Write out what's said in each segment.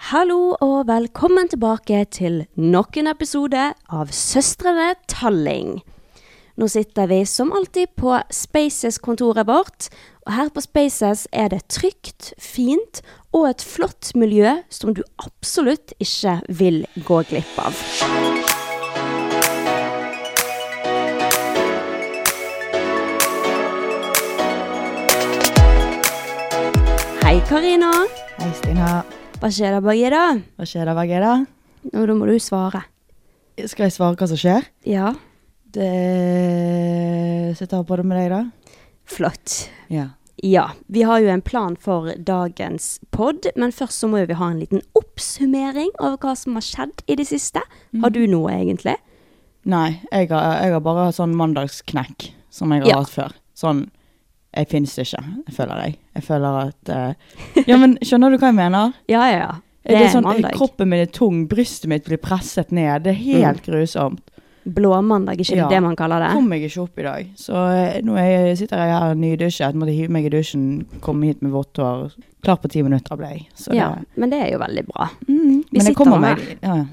Hallo og velkommen tilbake til nok en episode av Søstrene Talling. Nå sitter vi som alltid på Spaces-kontoret vårt, og her på Spaces er det trygt, fint og et flott miljø som du absolutt ikke vil gå glipp av. Hei, Karina. Hei, Stina. Hva skjer da baki da? Hva skjer da, Vegeda? Nå da må du svare. Skal jeg svare hva som skjer? Ja. Det sitter på det med deg, da? Flott. Ja. Ja, vi har jo en plan for dagens pod, men først så må jo vi ha en liten oppsummering over hva som har skjedd i det siste. Har du noe, egentlig? Nei, jeg har, jeg har bare sånn mandagsknekk som jeg har Ja. hatt før. Sånn Jeg finnes ikke, føler jeg. Jeg føler at eh, Ja, men skjønner du hva jeg mener? Ja, ja, ja. Jeg Det blir er eh, sånn, mandag. Kroppen min er tung, brystet mitt blir presset ned. Det er helt grusomt. Blåmandag, ikke Ja. det det man kaller det? Kom meg ikke opp i dag. Så eh, nå er jeg, sitter jeg her nydusjet, måtte hive meg i dusjen, komme hit med vått hår. Klar på ti minutter ble jeg. Så Ja, det, men det er jo veldig bra. Vi Men jeg sitter kommer nå meg. Ja, ja.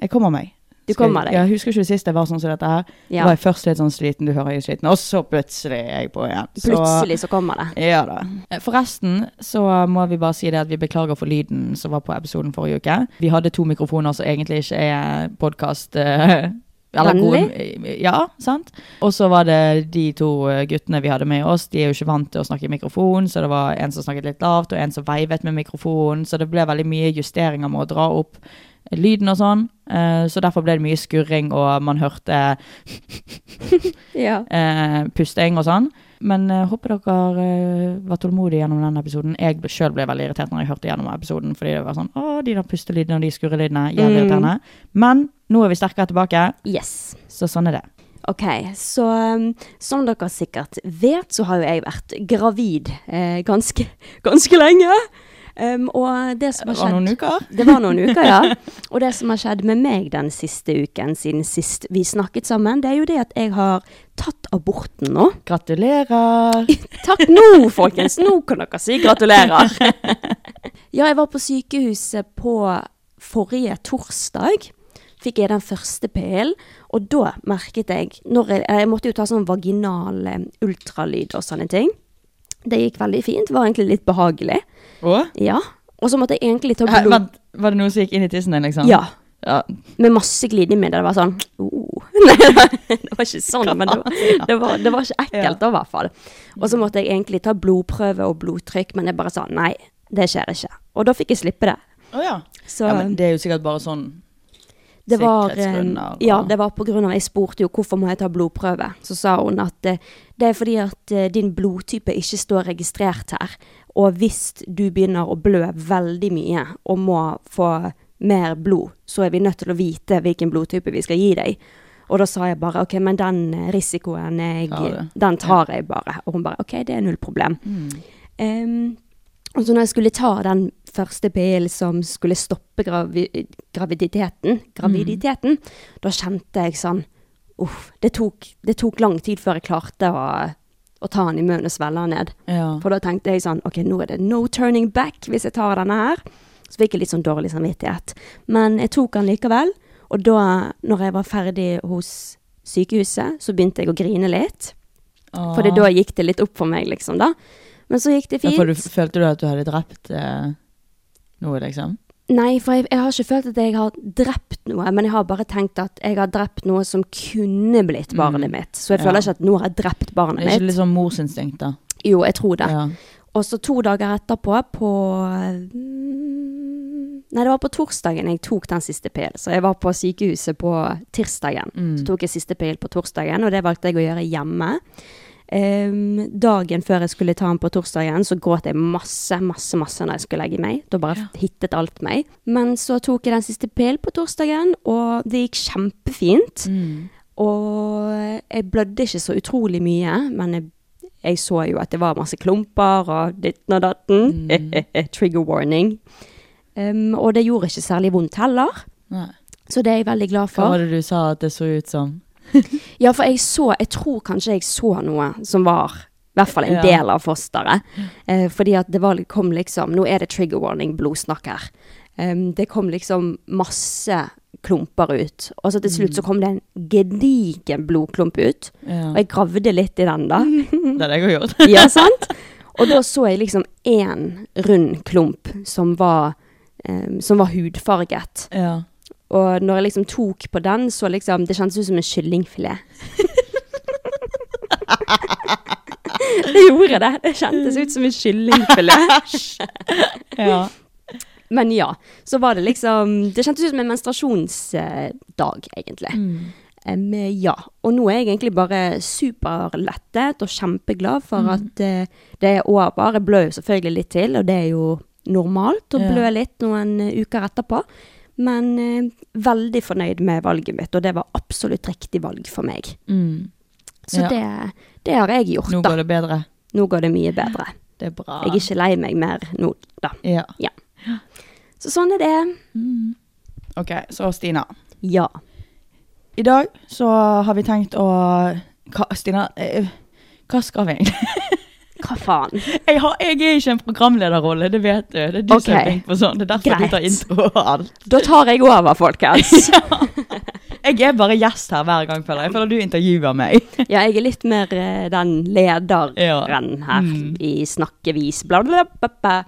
jeg kommer meg. Du Skal- kommer deg. Ja, husker ikke du sist jeg var sånn som dette her? Da Ja. var jeg først litt sånn sliten, du hører jeg er sliten, og så plutselig er jeg på igjen. Så, Plutselig så kommer det. Ja da. Eh, Forresten så må vi bare si det at vi beklager for lyden som var på episoden forrige uke. Vi hadde to mikrofoner som egentlig ikke er eh, podkast... Eh, ja, sant? Og så var det de to eh, guttene vi hadde med oss. De er jo ikke vant til å snakke i mikrofon, så det var en som snakket litt lavt, og en som veivet med mikrofonen, så det ble veldig mye justeringer med å dra opp lyden og sånn. Eh, Så derfor ble det mye skurring, og man hørte Ja. eh, pusting og sånn. Men eh, håper dere eh, var tålmodige gjennom den episoden. Jeg ble- selv ble veldig irritert når jeg hørte gjennom episoden, fordi det var sånn Å, de der pustelydene og de skurrelydene. Mm. Jævlig irriterende. Men nå er vi sterkere tilbake, Yes. så sånn er det. Ok, så um, som dere sikkert vet, så har jo jeg vært gravid eh, ganske, ganske lenge. Um, og det som har var skjedd noen uker. Det var noen uker, ja. Og det som har skjedd med meg den siste uken siden sist vi snakket sammen, det er jo det at jeg har tatt aborten nå. Gratulerer. Takk nå, folkens! Nå kan dere si gratulerer! Ja, jeg var på sykehuset på forrige torsdag. Fikk jeg den første pillen, og da merket jeg når jeg, jeg måtte jo ta sånn vaginal eh, ultralyd og sånne ting. Det gikk veldig fint. Var egentlig litt behagelig. Og? Ja. Og så måtte jeg egentlig ta Hæ, blod... Eh, vent, var det noe som gikk inn i tissen din, liksom? Ja. Ja. Med masse glidemiddel. Det var sånn oh. Nei, det var det var ikke sånn, men det var, det var, det var ikke ekkelt, da, i hvert fall. Og så måtte jeg egentlig ta blodprøve og blodtrykk, men jeg bare sa nei, det skjer ikke. Og da fikk jeg slippe det. Å ja. Så ja. Men det er jo sikkert bare sånn det var eh, sikkerhetsgrunner, og- Ja, det var på grunn av Jeg spurte jo hvorfor må jeg ta blodprøve. Så sa hun at eh, det er fordi at eh, din blodtype ikke står registrert her. Og hvis du begynner å blø veldig mye og må få mer blod, så er vi nødt til å vite hvilken blodtype vi skal gi deg. Og da sa jeg bare OK, men den eh, risikoen jeg, Tar du. Den tar jeg bare. Og hun bare OK, det er null problem. Em, Og så når jeg skulle ta den første pillen som skulle stoppe gravi graviditeten, graviditeten da kjente jeg sånn Uff. Det tok, det tok lang tid før jeg klarte å, å ta den i munnen og svelge den ned. Ja. For da tenkte jeg sånn Ok, nå er det no turning back hvis jeg tar denne her. Så fikk jeg litt sånn dårlig samvittighet. Men jeg tok den likevel. Og da, når jeg var ferdig hos sykehuset, så begynte jeg å grine litt. For det, da gikk det litt opp for meg, liksom, da. Men så gikk det Ja, fint. for du, følte du at du hadde drept eh, noe, liksom? Nei, for jeg, jeg har ikke følt at jeg har drept noe, men jeg har bare tenkt at jeg har drept noe som kunne blitt barnet mitt. Så jeg Mm. ja. føler ikke at nå har jeg drept Det barnet er ikke mitt. litt sånn morsinstinkt, da? Jo, jeg tror det. Ja. Og så to dager etterpå, på mm, Nei, det var på torsdagen jeg tok den siste pillen. Så jeg var på sykehuset på tirsdagen. Mm. Så tok jeg siste pill på torsdagen, og det valgte jeg å gjøre hjemme. Ehm, dagen før jeg skulle ta den på torsdagen, så gråt jeg masse, masse masse når jeg skulle legge meg. Da bare hittet alt meg. Men så tok jeg den siste pill på torsdagen, og det gikk kjempefint. Mm. Og jeg blødde ikke så utrolig mye, men jeg, jeg så jo at det var masse klumper og ditten og datten. Trigger warning. Ehm, og det gjorde ikke særlig vondt heller, Nei. så det er jeg veldig glad Hva for. var det du sa at det så ut som? Ja, for jeg så Jeg tror kanskje jeg så noe som var i hvert fall en Ja. del av fosteret. Eh, fordi at det var, kom liksom Nå er det trigger warning blodsnakk her. Em, det kom liksom masse klumper ut. Og så til slutt så kom det en gedigen blodklump ut. Ja. Og jeg gravde litt i den, da. Det hadde jeg òg gjort. Ja, sant? Og da så jeg liksom én rund klump som var, em, som var hudfarget. ja. Og når jeg liksom tok på den, så liksom Det kjentes ut som en kyllingfilet. det gjorde det. Det kjentes ut som en kyllingfilet. ja. Men ja, så var det liksom Det kjentes ut som en menstruasjonsdag, egentlig. Mm. Em, ja. Og nå er jeg egentlig bare superlettet og kjempeglad Mm. for at eh, det er over. Jeg blør jo selvfølgelig litt til, og det er jo normalt å Ja. blø litt noen eh, uker etterpå. Men eh, veldig fornøyd med valget mitt, og det var absolutt riktig valg for meg. Mm. Så Ja. det, det har jeg gjort, Nå da. går det bedre. Nå går det mye bedre. Det er bra. Jeg er ikke lei meg mer nå, da. Ja. Så sånn er det. Ok, så Stina. Ja. I dag så har vi tenkt å hva, Stina, eh, hva skal vi egentlig? Hva faen? Jeg, har, jeg er ikke en programlederrolle, det vet du. Det er du som Ok. er flink på sånn. Det er derfor Greit. du tar intro og alt. Da tar jeg over, folkens. Jeg er bare gjest her hver gang, føler jeg. Jeg føler du intervjuer meg. Ja, jeg er litt mer eh, den lederen Ja. her i snakkevis, bla, bla, bla, bla.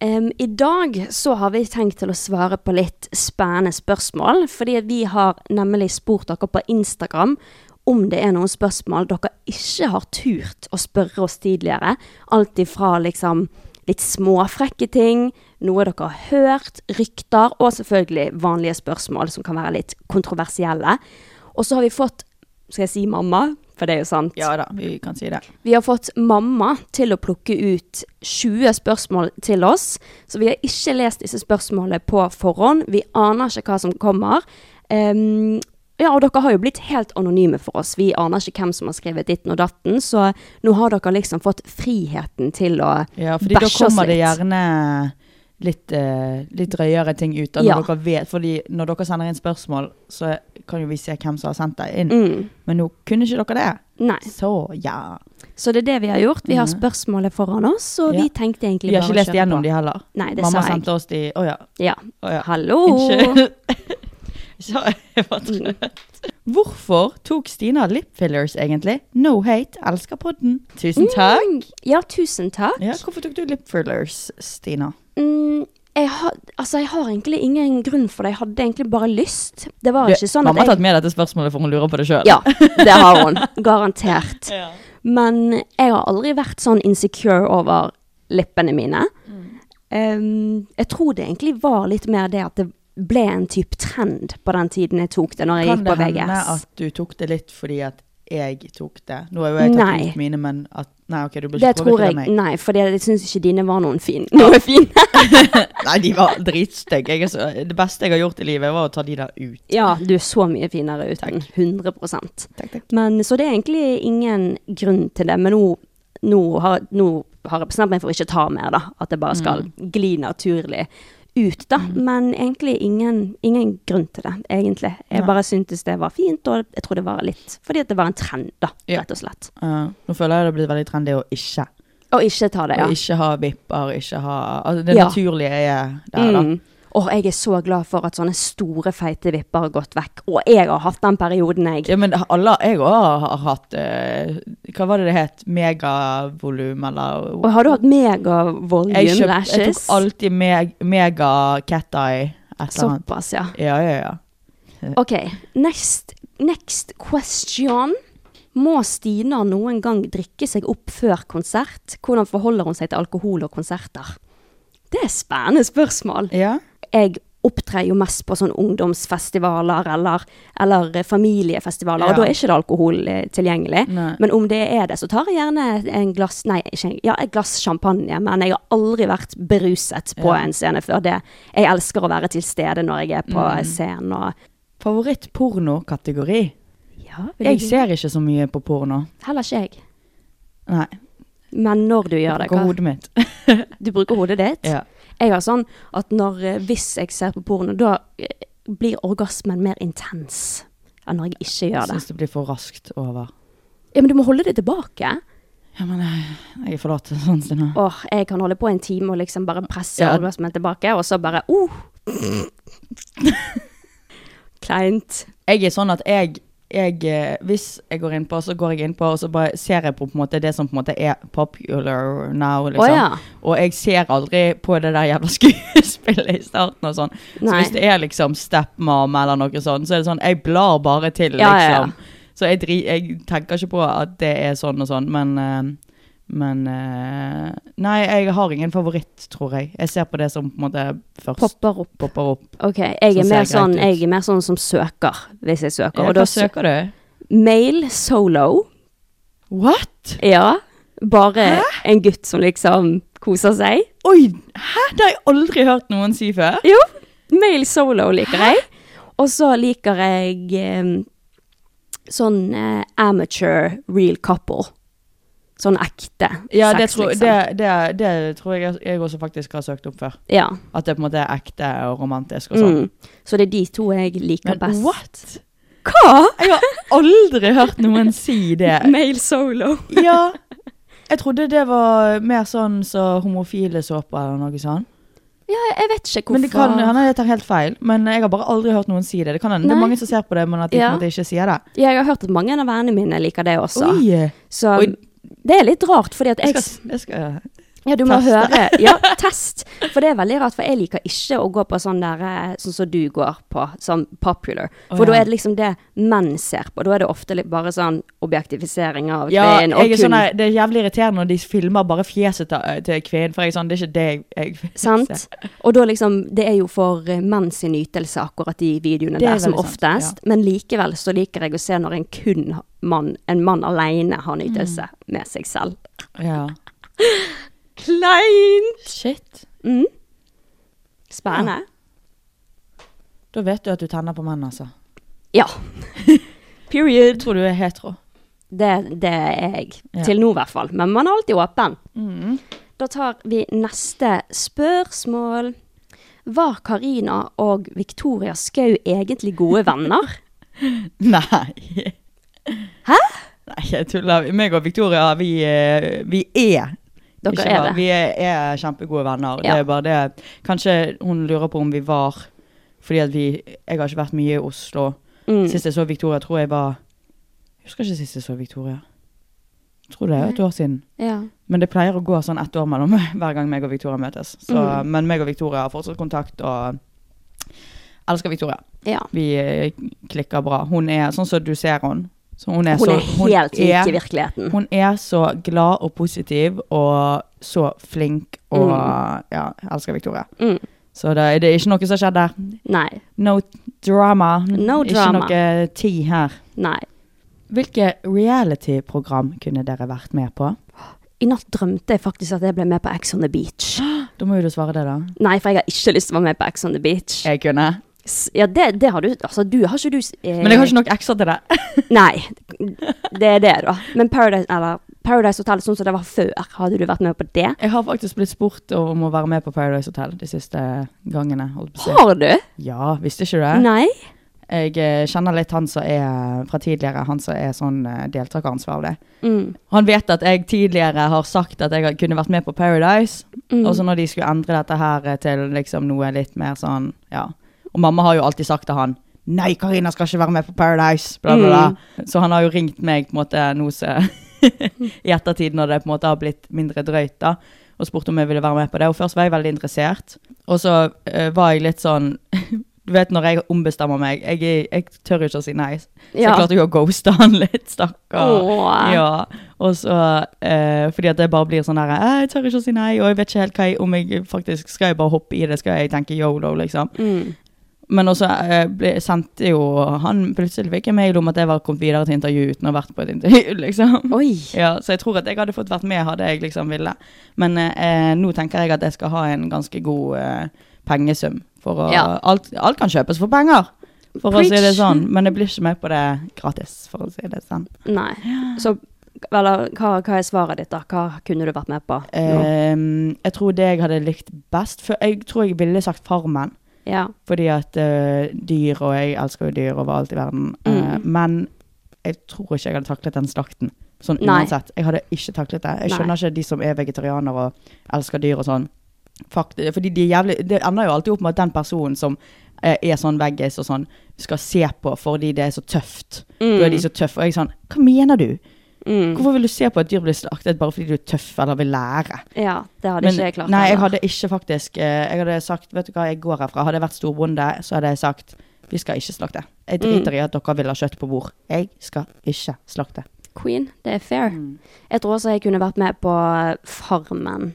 Em, I dag så har vi tenkt til å svare på litt spennende spørsmål, fordi vi har nemlig spurt dere på Instagram om det er noen spørsmål dere ikke har turt å spørre oss tidligere. Alt ifra liksom litt småfrekke ting, noe dere har hørt, rykter, og selvfølgelig vanlige spørsmål som kan være litt kontroversielle. Og så har vi fått Skal jeg si mamma? For det er jo sant. Ja da, vi kan si det. Vi har fått mamma til å plukke ut 20 spørsmål til oss. Så vi har ikke lest disse spørsmålene på forhånd. Vi aner ikke hva som kommer. Ehm, ja, og dere har jo blitt helt anonyme for oss. Vi aner ikke hvem som har skrevet ditten og datten, så nå har dere liksom fått friheten til å Ja, fordi da bæsje oss kommer det litt. gjerne litt, eh, litt drøyere ting ut. Da, når, Ja. dere vet, fordi når dere sender inn spørsmål, så kan jo vi se hvem som har sendt det inn. Mm. Men nå kunne ikke dere det. Nei. Så ja. Så det er det vi har gjort. Vi har spørsmålet foran oss, og Ja. vi tenkte egentlig Vi har bare å ikke lest kjøre gjennom på. de heller. Nei, det Mamma sa jeg. sendte oss de Å ja. Ja. Å, ja. Hallo! Mm. Unnskyld. Så jeg var trøtt. Hvorfor tok Stina lip fillers egentlig? No hate, elsker Mm. podden. Tusen takk. Ja, tusen takk. Ja, hvorfor tok du lip fillers, Stina? Mm, jeg, har, altså, jeg har egentlig ingen grunn for det. Jeg hadde egentlig bare lyst. Det var ikke sånn Mamma har at jeg tatt med dette spørsmålet for hun lurer på det sjøl. Ja, det har hun. Garantert. Men jeg har aldri vært sånn insecure over leppene mine. Mm. Um, jeg tror det egentlig var litt mer det at det ble en type trend på den tiden jeg tok det, når jeg Kan gikk det på hende VGS. at du tok det litt fordi at jeg tok det? Nå har jo jeg tatt Nei. ut mine, men at Nei, OK, du ble Det ikke tror påvirket av jeg meg. Nei, for jeg syns ikke dine var noen fin, noe fine. Nei, de var dritstygge. Jeg er så- Det beste jeg har gjort i livet, var å ta de der ut. Ja, du er så mye finere uten. 100 Takk, takk. Men, så det er egentlig ingen grunn til det. Men nå, nå, har, nå har jeg bestemt meg for å ikke ta mer, da. At det Mm. bare skal gli naturlig ut, da. Men egentlig ingen, ingen grunn til det, egentlig. Jeg Nei. bare syntes det var fint, og jeg tror det var litt fordi at det var en trend, da, Ja. rett og slett. Eh, nå føler jeg det blir veldig trendy å ikke. Å ikke ta det, ja. Å ikke ha vipper, ikke ha altså Det Ja. naturlige er der, da. Mm. Åh, jeg er så glad for at sånne store, feite vipper har gått vekk. Og jeg har hatt den perioden, jeg. Ja, men alle, jeg òg har hatt eh, Hva var det det het? Megavolum, eller Og har du hatt megavolum jeg, kjøpt, jeg lashes? tok alltid meg, mega cat eye. Et eller annet. Såpass, ja. Ja, ja, ja. Ok, next, next question. Må Stina noen gang drikke seg opp før konsert? Hvordan forholder hun seg til alkohol og konserter? Det er spennende spørsmål. ja. Jeg opptrer jo mest på sånn ungdomsfestivaler eller, eller eh, familiefestivaler, og Ja. da er ikke det alkohol eh, tilgjengelig. Nei. Men om det er det, så tar jeg gjerne en glass, nei, ikke, en- ja, et glass champagne, men jeg har aldri vært beruset på Ja. en scene før det. Jeg elsker å være til stede når jeg er på Mm. scenen, og Favorittpornokategori? ja, vil Jeg du- ser ikke så mye på porno. Heller ikke jeg. Nei. Men når du gjør det, På hva? hodet mitt. Du bruker hodet ditt? Ja. Jeg har sånn at når, eh, hvis jeg ser på porno, da eh, blir orgasmen mer intens enn når jeg ikke Jeg gjør det. syns det blir for raskt over. Ja, men du må holde det tilbake. Ja, men jeg, jeg forlater sånn, Stina. Åh, jeg kan holde på en time og liksom bare presse Ja. orgasmen tilbake, og så bare, oh! Kleint. Jeg er sånn at jeg, jeg eh, Hvis jeg går innpå, så går jeg innpå, og så bare ser jeg på, på en måte, det som på en måte er popular now, liksom. Åja. Og jeg ser aldri på det der jævla skuespillet i starten og sånn. Så Nei. hvis det er liksom stepmom eller noe sånt, så er det sånn Jeg blar bare til, Ja, ja, ja. liksom. Så jeg, dri, jeg tenker ikke på at det er sånn og sånn, men eh, men eh, Nei, jeg har ingen favoritt, tror jeg. Jeg ser på det som på en måte først Popper opp. popper opp. Ok, jeg er, Sånn ser mer greit sånn, ut. jeg er mer sånn som søker, hvis jeg søker. Ja, Og hva da søker søker du? Mail solo. What? Ja. Bare en gutt som liksom koser seg. Oi, hæ? Det har jeg aldri hørt noen si før. Jo, male solo liker jeg. Og så liker jeg em, sånn eh, amateur real couple. Sånn ekte Ja, det sex, tror, liksom. det, det, det tror jeg jeg også faktisk har søkt opp før. Ja. At det på en måte er ekte og romantisk og sånn. Mm. Så det er de to jeg liker Men best. what? Hva? Jeg har aldri hørt noen si det. Male solo. Ja, jeg trodde det var mer sånn så homofile såper eller noe sånn. Ja, jeg vet ikke hvorfor. Men det kan, han har tatt helt feil, men jeg har bare aldri hørt noen si det. Det kan hende det er Nei. mange som ser på det, men at de på Ja. en måte ikke sier det. Ja, jeg har hørt at mange av vennene mine liker det også. Oi, Så Oi. det er litt rart, fordi at jeg jeg skal, jeg skal Ja, du må Teste. høre. Ja, test. For det er veldig rart, for jeg liker ikke å gå på sånn der eh, Sånn som du går på, sånn popular. For Å, ja. da er det liksom det menn ser på. Da er det ofte litt bare sånn objektifisering av Ja, kvinnen. og jeg er sånn, kun- her, det er jævlig irriterende når de filmer bare fjeset til, til kvinnen, for jeg er sånn, det er ikke det jeg, jeg vil se. Sant? Og da liksom Det er jo for eh, menn sin ytelse, akkurat de videoene Det er der, som veldig sant, ja. oftest. Men likevel så liker jeg å se når en kun ha- mann, en mann aleine, har en ytelse Mm. med seg selv. Ja. Kleint! Shit. Mm. Spennende. Da vet du at du tenner på menn, altså. Ja. Period. Tror du er hetero. Det, det er jeg. Ja. Mm. Til nå, i hvert fall. Men man er alltid åpen. Da tar vi neste spørsmål. Var Karina og Victoria Skau egentlig gode venner? Nei. Hæ? Nei, jeg tuller. Meg og Victoria, vi, eh, vi er. Dere ikke er var. det. Vi er, er kjempegode venner. Ja. Det er bare det. Kanskje hun lurer på om vi var, fordi at vi, jeg har ikke vært mye i Oslo. Mm. Sist jeg så Victoria, tror jeg var, jeg husker ikke sist jeg så Victoria. Jeg tror det er et år siden. Ja. Men det pleier å gå sånn ett år mellom hver gang meg og Victoria møtes. Så, Mhm. Men meg og Victoria har fortsatt kontakt og elsker Victoria. ja. Vi eh, klikker bra. Hun er sånn som du ser hun. Så hun er, Hun er så, hun helt er- lik i virkeligheten. Hun er så glad og positiv og så flink og ja, jeg elsker Victoria. Mm. Så det, det er ikke noe som har skjedd der. Nei. No drama. No ikke drama. noe tid her. Nei. Hvilke reality-program kunne dere vært med på? I natt drømte jeg faktisk at jeg ble med på Ex on the Beach. Da må jo du svare det, da. Nei, for jeg har ikke lyst til å være med på Ex on the Beach. Jeg kunne. S- Ja, det, det har du Altså, du har ikke du eh, Men jeg har ikke nok ekstra til det. Nei, det er det, da. Men Paradise, eller Paradise Hotel sånn som det var før. Hadde du vært med på det? Jeg har faktisk blitt spurt om å være med på Paradise Hotel de siste gangene. Holdt på å si. Har du? Ja, visste ikke du det? Nei? Jeg eh, kjenner litt han som er eh, fra tidligere, han som er sånn eh, deltakeransvarlig. Mm. Han vet at jeg tidligere har sagt at jeg har- kunne vært med på Paradise, og så når de skulle endre dette her eh, til liksom noe litt mer sånn, ja. Og mamma har jo alltid sagt til han, nei, Karina skal ikke være med på Paradise, bla bla bla. Så han har jo ringt meg på en måte nå så, i ettertid når det på en måte har blitt mindre drøyt da, og spurt om jeg ville være med på det. Og først var jeg veldig interessert, og så eh, var jeg litt sånn, du vet når jeg ombestemmer meg, jeg, er- jeg tør ikke å si nei. Så Ja. jeg klarte jo å ghoste han litt, stakkar. Åh. Ja, og så eh, Fordi at det bare blir sånn her «Eh, Jeg tør ikke å si nei, og jeg vet ikke helt hva jeg Om jeg faktisk skal jeg bare hoppe i det, skal jeg tenke yolo, liksom. Mm. Men også eh, ble, sendte jo han plutselig fikk en mail om at jeg var kommet videre til intervju uten å ha vært på et intervju, liksom. Oi. Ja, så jeg tror at jeg hadde fått vært med hadde jeg liksom ville. Men eh, nå tenker jeg at jeg skal ha en ganske god eh, pengesum. For å, Ja. alt, alt kan kjøpes for penger, for å si det Preach. sånn. Men jeg blir ikke med på det gratis, for å si det sånn. Nei. Så eller, hva, hva er svaret ditt, da? Hva kunne du vært med på? Ehm, jeg tror det jeg hadde likt best for Jeg tror jeg ville sagt Farmen. Ja. Fordi at eh, dyr, og jeg elsker jo dyr overalt i verden. Mm. Eh, men jeg tror ikke jeg hadde taklet den slakten. Sånn Nei. uansett. Jeg hadde ikke taklet det. Jeg Nei. skjønner ikke de som er vegetarianere og elsker dyr og sånn. Fakt, fordi de er jævlig, det ender jo alltid opp med at den personen som eh, er sånn veggis og sånn, skal se på fordi det er så tøft. Da Mm. er de så tøffe. Og jeg er sånn Hva mener du? Hvorfor vil du se på at dyr blir slaktet bare fordi du er tøff eller vil lære? ja. Det hadde ikke jeg klart. Nei, jeg heller. hadde ikke faktisk eh, Jeg hadde sagt, vet du hva, jeg går herfra. Hadde jeg vært storbonde, så hadde jeg sagt vi skal ikke slakte. Mm. Jeg driter i at dere vil ha kjøtt på bord. Jeg skal ikke slakte. Queen, det er fair. Mm. Jeg tror også jeg kunne vært med på Farmen.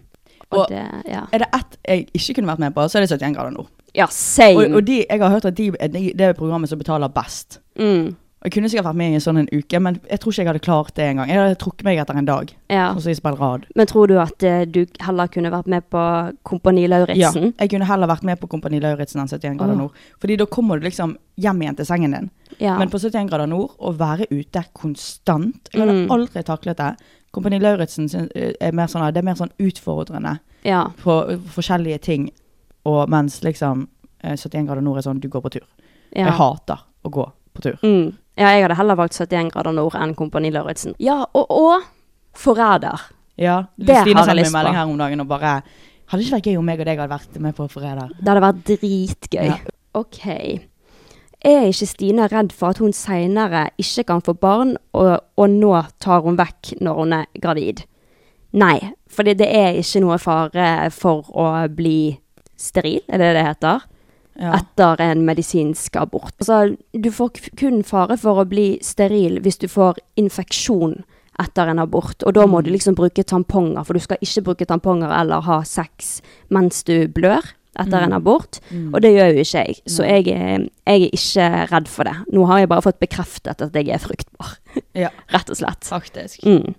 Og, Og- det, ja. Er det ett jeg ikke kunne vært med på, så er det 71 grader nord. ja, same. Og, og de, jeg har hørt at de er de- det er programmet som betaler best. mm. Og Jeg kunne sikkert vært med i en sånn en uke, men jeg tror ikke jeg hadde klart det engang. Jeg hadde trukket meg etter en dag. ja. Og så i spill rad. Men tror du at eh, du heller kunne vært med på Kompani Ja, Lauritzen? jeg kunne heller vært med på Kompani Lauritzen enn 71 grader Åh. nord. Fordi da kommer du liksom hjem igjen til sengen din. Ja. Men på 71 grader nord, å være ute konstant Jeg hadde Mm. aldri taklet det. Kompani Lauritzen syn- er mer sånn, det er mer sånn utfordrende ja. på forskjellige ting. Og mens liksom eh, 71 grader nord er sånn du går på tur. Ja. Jeg hater å gå på tur. Mm. ja, jeg hadde heller valgt 71 grader nord enn Kompani Lauritzen. Ja, og, og Forræder. Ja, Det har jeg Stine sendte meg lyst en på. melding her om dagen og bare Hadde det ikke vært gøy om meg og deg hadde vært med på Forræder? Det hadde vært dritgøy. Ja. OK. Er ikke Stina redd for at hun seinere ikke kan få barn, og, og nå tar hun vekk når hun er gravid? Nei, for det er ikke noe fare for å bli steril, er det det heter? Ja. Etter en medisinsk abort. Altså, du får k- kun fare for å bli steril hvis du får infeksjon etter en abort, og da må Mm. du liksom bruke tamponger, for du skal ikke bruke tamponger eller ha sex mens du blør etter Mm. en abort, og det gjør jo ikke jeg. Så jeg er, jeg er ikke redd for det. Nå har jeg bare fått bekreftet at jeg er fruktbar, Ja, rett og slett. faktisk. Mm.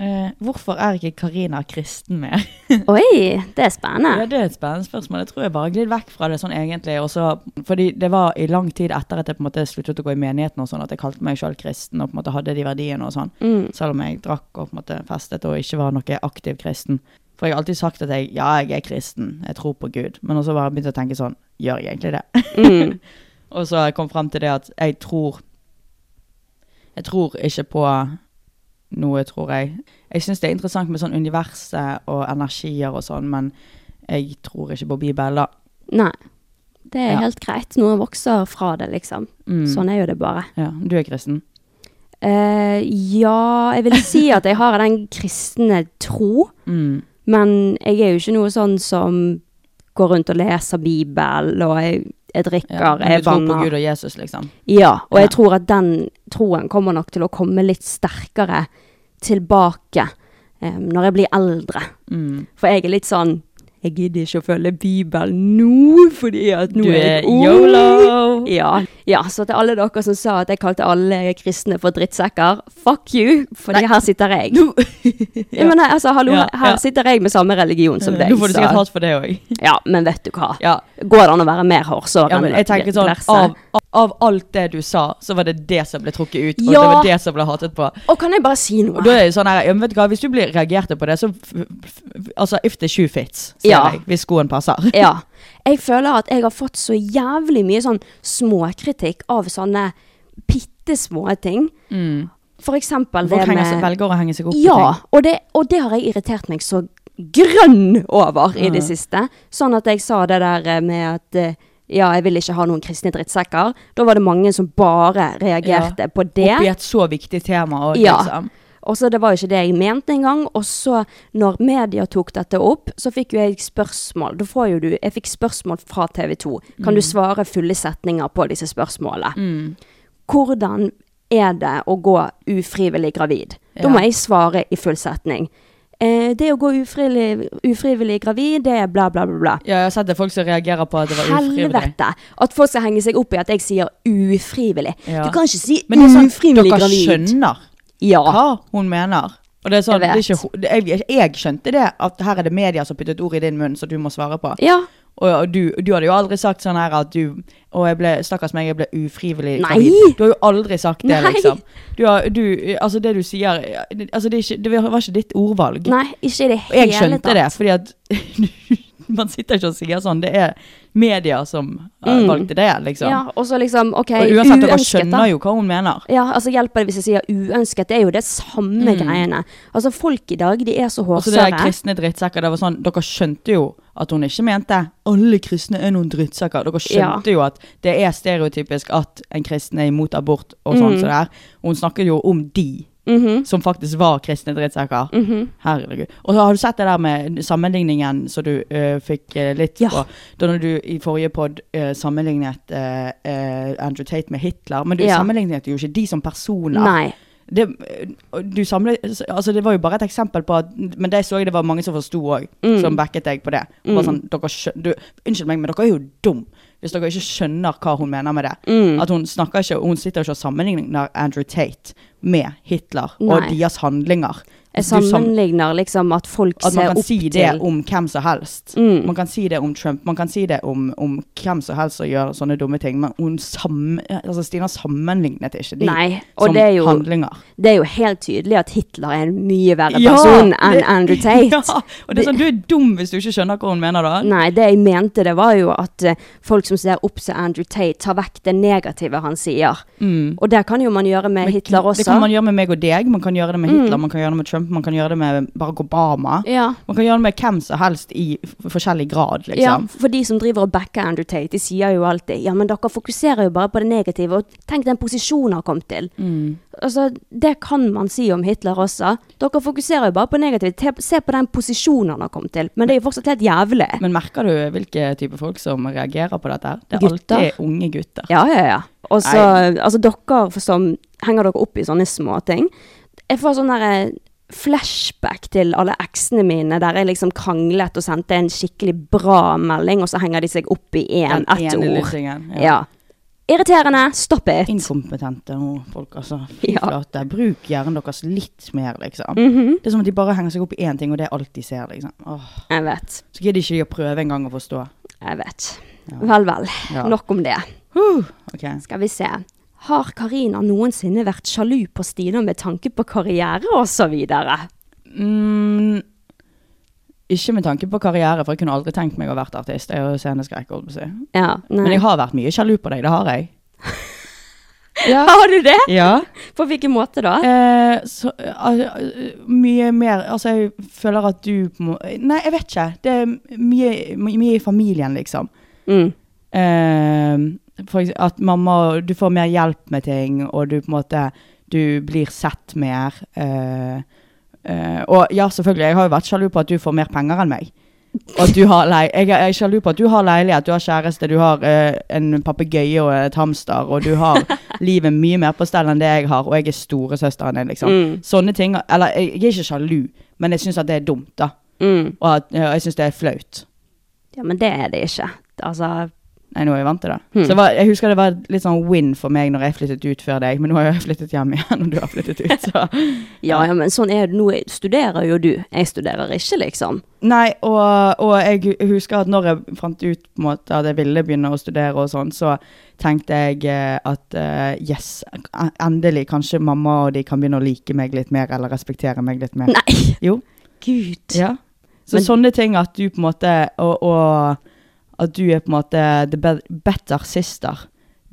Eh, hvorfor er ikke Karina kristen mer? Oi, det er spennende. Ja, det er et spennende spørsmål. Jeg tror jeg bare gled vekk fra det sånn egentlig. Og så, fordi det var i lang tid etter at jeg på en måte sluttet å gå i menigheten og sånn, at jeg kalte meg selv kristen og på en måte hadde de verdiene og sånn. Selv om jeg drakk og på en måte festet og ikke var noe aktiv kristen. For jeg har alltid sagt at jeg, ja, jeg er kristen, jeg tror på Gud. Men også bare begynte jeg å tenke sånn, gjør jeg egentlig det? og så kom jeg frem til det at jeg tror, jeg tror ikke på noe, tror jeg. Jeg synes det er interessant med sånn universet og energier og sånn, men jeg tror ikke på Bibelen, da. Nei, det er Ja. helt greit. Noen vokser fra det, liksom. Sånn er jo det bare. Mm. Ja, du er kristen. Eh, ja, jeg vil si at jeg har den kristne tro, Mm, men jeg er jo ikke noe sånn som går rundt og leser Bibelen, og jeg, jeg drikker, Ja, men jeg du tror på banner. Gud og Jesus, liksom. Ja, og Ja. jeg tror at den troen kommer nok til å komme litt sterkere tilbake eh, når jeg blir eldre. Mm. For jeg er litt sånn jeg gidder ikke å følge Bibelen nå, fordi at nå Du er jeg er ung. yolo! Wow. Ja. ja, så til alle dere som sa at jeg kalte alle kristne for drittsekker, fuck you, for her sitter jeg. ja. Men her- altså, hallo, Ja, ja. Eh, her sitter jeg med samme religion som deg. Nå får du sikkert så- hat for det òg. Ja, men vet du hva. Ja. Går det an å være mer hårsår Ja, enn men jeg tenker sånn, diverse? av, av- av alt det du sa, så var det det som ble trukket ut, og det Ja. var det som ble hatet på. Og kan jeg bare si noe? Og da er det sånn her, ja, men vet du hva, Hvis du blir reagerte på det, så f- f- Altså, if the shoe fits, sier Ja. jeg. Hvis skoen passer. Ja. Jeg føler at jeg har fått så jævlig mye sånn småkritikk av sånne bittesmå ting. Mm. For eksempel det Folk med henger seg, velger å henge seg opp Ja, i ting. og det, og det har jeg irritert meg så grønn over i det siste. Sånn at jeg sa det der eh, med at eh, ja, jeg vil ikke ha noen kristne drittsekker. Da var det mange som bare reagerte på det. Oppi et så viktig tema òg, Ja. liksom. Og så Det var jo ikke det jeg mente engang. Og så, når media tok dette opp, så fikk jo jeg spørsmål. Da får jo du, jeg fikk spørsmål fra TV 2. Kan Mm. du svare fulle setninger på disse spørsmålene? Hvordan er det å gå ufrivillig gravid? Da må Ja. jeg svare i full setning. Eh, det å gå ufrivillig, ufrivillig gravid, det er bla, bla, bla. bla. Ja, jeg har sett det er folk som reagerer på at det var ufrivillig. Helvete! At folk skal henge seg opp i at jeg sier ufrivillig. Ja. Du kan ikke si Men det er sånn, ufrivillig dere gravid. skjønner Ja. hva hun mener. Og det er Jeg sånn, det er vet. ikke, ho- det er- jeg, jeg skjønte det, at her er det media som puttet ord i din munn, så du må svare på. ja. Og, og du, du hadde jo aldri sagt sånn her at du Og jeg ble, stakkars meg, jeg ble Nei! ufrivillig gravid. Du har jo aldri sagt det, Nei! liksom. Du har, du, altså, det du sier altså, det, er ikke, det var ikke ditt ordvalg. Nei, ikke i det og hele jeg skjønte det, fordi at Man sitter ikke og sier sånn. Det er media som eh, valgte det, liksom. Mm. Ja, og så liksom, ok, og uansett, uønsket dere da. skjønner jo hva hun mener. Ja, altså hjelper det hvis jeg sier uønsket, det er jo det samme greiene. Altså folk i dag, de er så Mm. Og så Altså, det der hårsere. kristne drittsekker, det var sånn, dere skjønte jo at hun ikke mente alle kristne er noen drittsekker. Dere skjønte jo at det er stereotypisk at en kristen er imot abort og sånn Mhm. så der. Og hun snakket jo om de som faktisk var kristne drittsekker. Mhm. Herregud. Og så har du sett det der med sammenligningen som du eh, fikk eh, litt Ja. på. Da når du i forrige pod eh, sammenlignet eh, eh, Andrew Tate med Hitler, men du Ja. sammenlignet jo ikke de som personer. Nei. Det, du samlet, altså det var jo bare et eksempel på at Men det så jeg det var mange som forsto òg, Mm. som backet deg på det. Og bare sånn, dere skjø- du, unnskyld meg, men dere er jo dum hvis dere ikke skjønner hva hun mener med det. Mm. At hun snakker ikke, Hun sitter ikke og sammenligner Andrew Tate med Hitler og Nei. deres handlinger. Jeg Altså, Du sam- sammenligner liksom at folk at man ser kan opp si det til. Mm. om hvem som helst. Man kan si det om Trump, man kan si det om, om hvem som helst som gjør sånne dumme ting. Men hun sammen, altså Stina sammenlignet ikke de Nei, og som det er jo- handlinger. Det er jo helt tydelig at Hitler er en mye verre Ja, person enn det- Andrew Tate. Ja, og det er sånn, Du er dum hvis du ikke skjønner hva hun mener, da. Nei, det jeg mente det var jo at eh, folk som ser opp til Andrew Tate, tar vekk det negative han sier. Og det kan jo man gjøre med Hitler også. Mm. Mm. Det kan man gjøre med meg og deg, man kan gjøre det med Hitler, man kan gjøre det med Trump, man kan gjøre det med Barack Obama. Ja. Man kan gjøre det med hvem som helst i f- forskjellig grad, Ja, liksom. for de som driver og backer Andrew Tate, de sier jo alltid ja, men dere fokuserer jo bare på det negative, og tenk den posisjonen han kom til. Altså, Det kan man si om Hitler også. Dere fokuserer jo bare på det negative. Te- Se på den posisjonen han har kommet til. Men det er jo fortsatt helt jævlig. Men merker du hvilke type folk som reagerer på dette? her? Det er Gutter. alltid unge gutter. Ja, ja, ja. Og så, altså dere for som henger dere opp i sånne småting. Jeg får sånn der eh, flashback til alle eksene mine der jeg liksom kranglet og sendte en skikkelig bra melding, og så henger de seg opp i én, Den ett ene ord. lussingen, Ja. Irriterende. Stopp it. Inkompetente nå, folk, altså. Fy Ja. flate. Bruk hjernen deres litt mer, liksom. Mhm. Det er som at de bare henger seg opp i én ting, og det er alt de ser, liksom. Åh. Jeg vet. Så gidder ikke de å prøve engang å forstå. Jeg vet. Vel, vel. Ja. Nok om det. Huh, ok. Skal vi se. Har Karina noensinne vært sjalu på Stina med tanke på karriere og så videre? Mm, ikke med tanke på karriere, for jeg kunne aldri tenkt meg å vært artist. Jeg er jo sceneskrekk, holdt på å si. Ja, Men nei. jeg har vært mye sjalu på deg, det har jeg. Har du det? Ja. På hvilken måte da? Eh, så, eh, eh, mye mer Altså, jeg føler at du på en må Nei, jeg vet ikke. Det er mye, my- mye i familien, liksom. Mm. Eh, for eks- at mamma Du får mer hjelp med ting, og du på en måte Du blir sett mer. eh, eh, og ja, selvfølgelig, jeg har jo vært sjalu på at du får mer penger enn meg. Og at du har lei jeg, er- jeg er sjalu på at du har leilighet, du har kjæreste, du har eh, en papegøye og et hamster, og du har livet mye mer på stell enn det jeg har, og jeg er storesøsteren din, liksom. Sånne ting. Eller jeg, jeg er ikke sjalu, men jeg syns at det er dumt, da. Mm. Og at, eh, jeg syns det er flaut. Ja, men det er det ikke. Altså, Nei, nå er jeg vant til det. Så det var, jeg husker det var litt sånn win for meg når jeg flyttet ut før deg, men nå har jeg flyttet hjem igjen, og du har flyttet ut, så Ja, ja, men sånn er det. Nå studerer jo du. Jeg studerer ikke, liksom. Nei, og, og jeg hu- husker at når jeg fant ut på en måte at jeg ville begynne å studere og sånn, så tenkte jeg eh, at eh, yes, e- endelig, kanskje mamma og de kan begynne å like meg litt mer, eller respektere meg litt mer. Nei, Jo, gud. ja. Så Men- sånne ting at du på en måte, og, og at du er på en måte the be- better sister,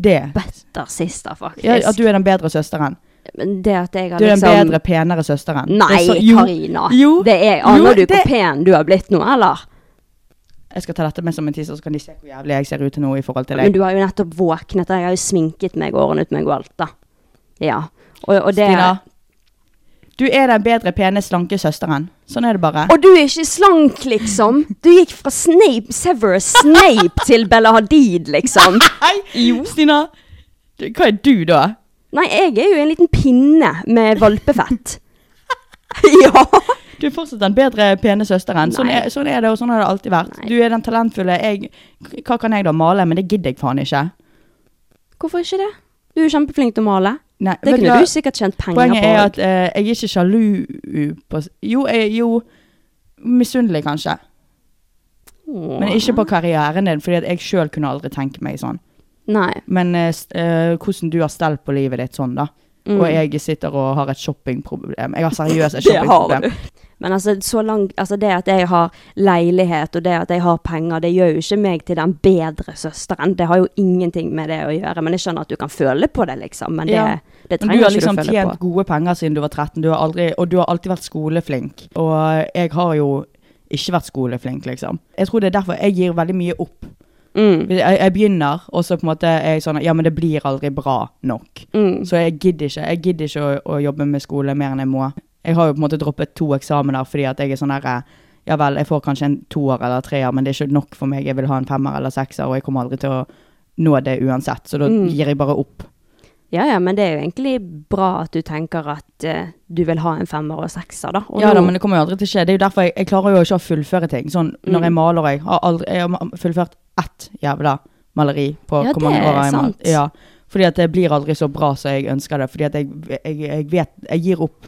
det. Better sister, faktisk. Ja, at du er den bedre søsteren. Men det at jeg har Du er den liksom bedre, penere søsteren. Det er Nei, så- jo, Karina. Jo. Det er, Jo, Aner du det- hvor pen du har blitt nå, eller? Jeg skal ta dette med som en teaser, så kan de se hvor jævlig jeg ser ut til nå i forhold til deg. Men du har jo nettopp våknet, og jeg har jo sminket meg og ordnet meg og alt, da. Ja. Og, og det Stina. Du er den bedre, pene, slanke søsteren. Sånn er det bare. Og du er ikke slank, liksom! Du gikk fra Snape, Severus Snape til Bella Hadid, liksom. Nei, Stina! Du, hva er du, da? Nei, jeg er jo en liten pinne med valpefett. ja! Du er fortsatt den bedre, pene søsteren. Sånn Nei. er, sånn er det, og sånn har det alltid vært. Nei. Du er den talentfulle. Jeg, hva kan jeg da male? Men det gidder jeg faen ikke. Hvorfor ikke det? Du er jo kjempeflink til å male. Nei, Det vet kunne hva? du sikkert tjent penger Poenget på. er at eh, jeg er ikke sjalu på s- Jo, jeg, jo Misunnelig, kanskje. Åh. Men ikke på karrieren din, fordi at jeg sjøl kunne aldri tenke meg sånn. Nei. Men eh, s- eh, hvordan du har stell på livet ditt sånn, da. Mm. Og jeg sitter og har et shoppingproblem. Jeg har seriøst et Det har shoppingproblem. du. Men altså, så langt, altså det at jeg har leilighet og det at jeg har penger, det gjør jo ikke meg til den bedre søsteren. Det har jo ingenting med det å gjøre. Men jeg skjønner at du kan føle på det, liksom. Men det, Ja. det Men du trenger har ikke liksom du føle tjent på. gode penger siden du var 13, du har aldri, og du har alltid vært skoleflink. Og jeg har jo ikke vært skoleflink, liksom. Jeg tror det er derfor jeg gir veldig mye opp. Mm, Jeg, jeg begynner, og så på en måte er jeg sånn Ja, men det blir aldri bra nok. mm. Så jeg gidder ikke. Jeg gidder ikke å, å jobbe med skole mer enn jeg må. Jeg har jo på en måte droppet to eksamener fordi at jeg er sånn herre Ja vel, jeg får kanskje en toer eller treer, men det er ikke nok for meg. Jeg vil ha en femmer eller sekser, og jeg kommer aldri til å nå det uansett. Så da Mm. gir jeg bare opp. Ja ja, men det er jo egentlig bra at du tenker at eh, du vil ha en femmer og sekser, da. Og Ja da, nå- men det kommer jo aldri til å skje. Det er jo derfor jeg, jeg klarer jo ikke å fullføre ting. Sånn Mm. når jeg maler, jeg har aldri Jeg har fullført ett jævla maleri på Ja, hvor mange det år er jeg har sant. malt. Ja, fordi at det blir aldri så bra som jeg ønsker det. Fordi at jeg, jeg, jeg vet Jeg gir opp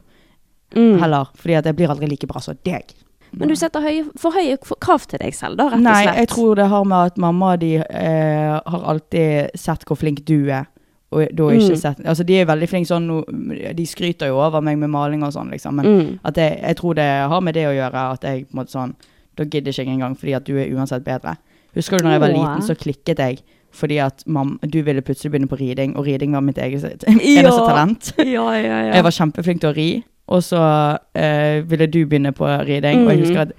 Mm. heller. Fordi at jeg blir aldri like bra som deg. men du setter høye, for høye k- krav til deg selv, da, rett og Nei, slett. jeg tror det har med at mamma og de eh, har alltid sett hvor flink du er. Og da ikke Mm. sett Altså, de er veldig flinke sånn no- De skryter jo over meg med maling og sånn, liksom. Men Mm. at jeg, jeg tror det har med det å gjøre at jeg på en måte sånn Da gidder ikke jeg engang, fordi at du er uansett bedre. Husker du når jeg var Åh. liten, så klikket jeg fordi at mam, du ville plutselig begynne på riding, og riding var mitt eget eneste Ja. talent. Ja, ja, ja. Jeg var kjempeflink til å ri, og så eh, ville du begynne på riding, og jeg Mhm. husker at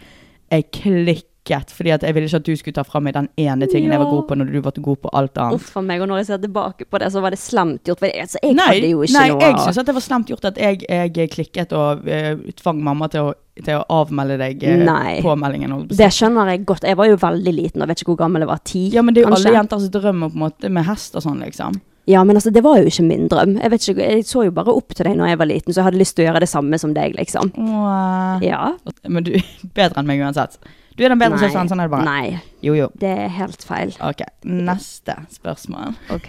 jeg klikket, fordi at jeg ville ikke at du skulle ta fra meg den ene tingen jeg var Ja. god på, når du var god på alt annet. Uff for meg, og når jeg ser tilbake på det, så var det slemt gjort. For jeg, altså, jeg nei, hadde jo ikke nei, noe jeg synes at det var slemt gjort at jeg, jeg klikket og eh, tvang mamma til å, til å avmelde deg eh, Nei. påmeldingen. holdt jeg på å si. Det skjønner jeg godt. Jeg var jo veldig liten og vet ikke hvor gammel jeg var. Ti, Ja, men det er jo kanskje? alle jenters drøm på en måte, med hest og sånn, liksom. Ja, men altså, det var jo ikke min drøm. Jeg, vet ikke, jeg så jo bare opp til deg når jeg var liten, så jeg hadde lyst til å gjøre det samme som deg, liksom. Åh. Ja. eh, Men du bedre enn meg uansett. Du er den bedre Nei. søsteren, sånn er det bare. Nei, Jo, jo. det er helt feil. Ok, neste spørsmål. Ok.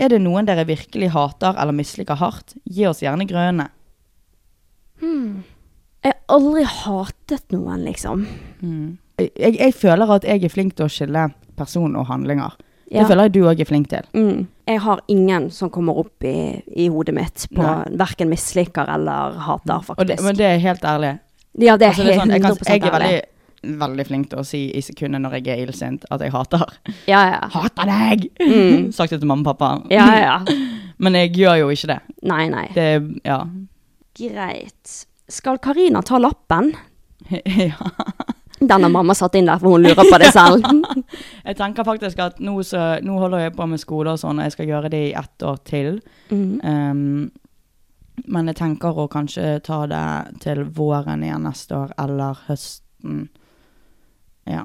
Er det noen dere virkelig hater eller misliker hardt? Gi oss gjerne grønne. Jeg har aldri hatet noen, liksom. Jeg, jeg føler at jeg er flink til å skille person og handlinger. Ja. Det føler jeg du òg er flink til. Mm. Jeg har ingen som kommer opp i, i hodet mitt på Nei. hverken misliker eller hater, Og det, faktisk. men det er helt ærlig. ja, det er Altså, det er helt sånn, jeg, 100 kan, jeg er ærlig. veldig, veldig flink til å si i sekundet når jeg er illsint at jeg hater. Ja, ja. Hater deg! Sagt det til mamma og pappa. Ja, ja. Men jeg gjør jo ikke det. Nei, nei. Det ja. Greit. Skal Karina ta lappen? ja. Den har mamma satt inn der, for hun lurer på det selv. Jeg tenker faktisk at nå, så, nå holder jeg på med skole og sånn, og jeg skal gjøre det i ett år til. Mm. Um, men jeg tenker å kanskje ta det til våren igjen neste år, eller høsten. Ja.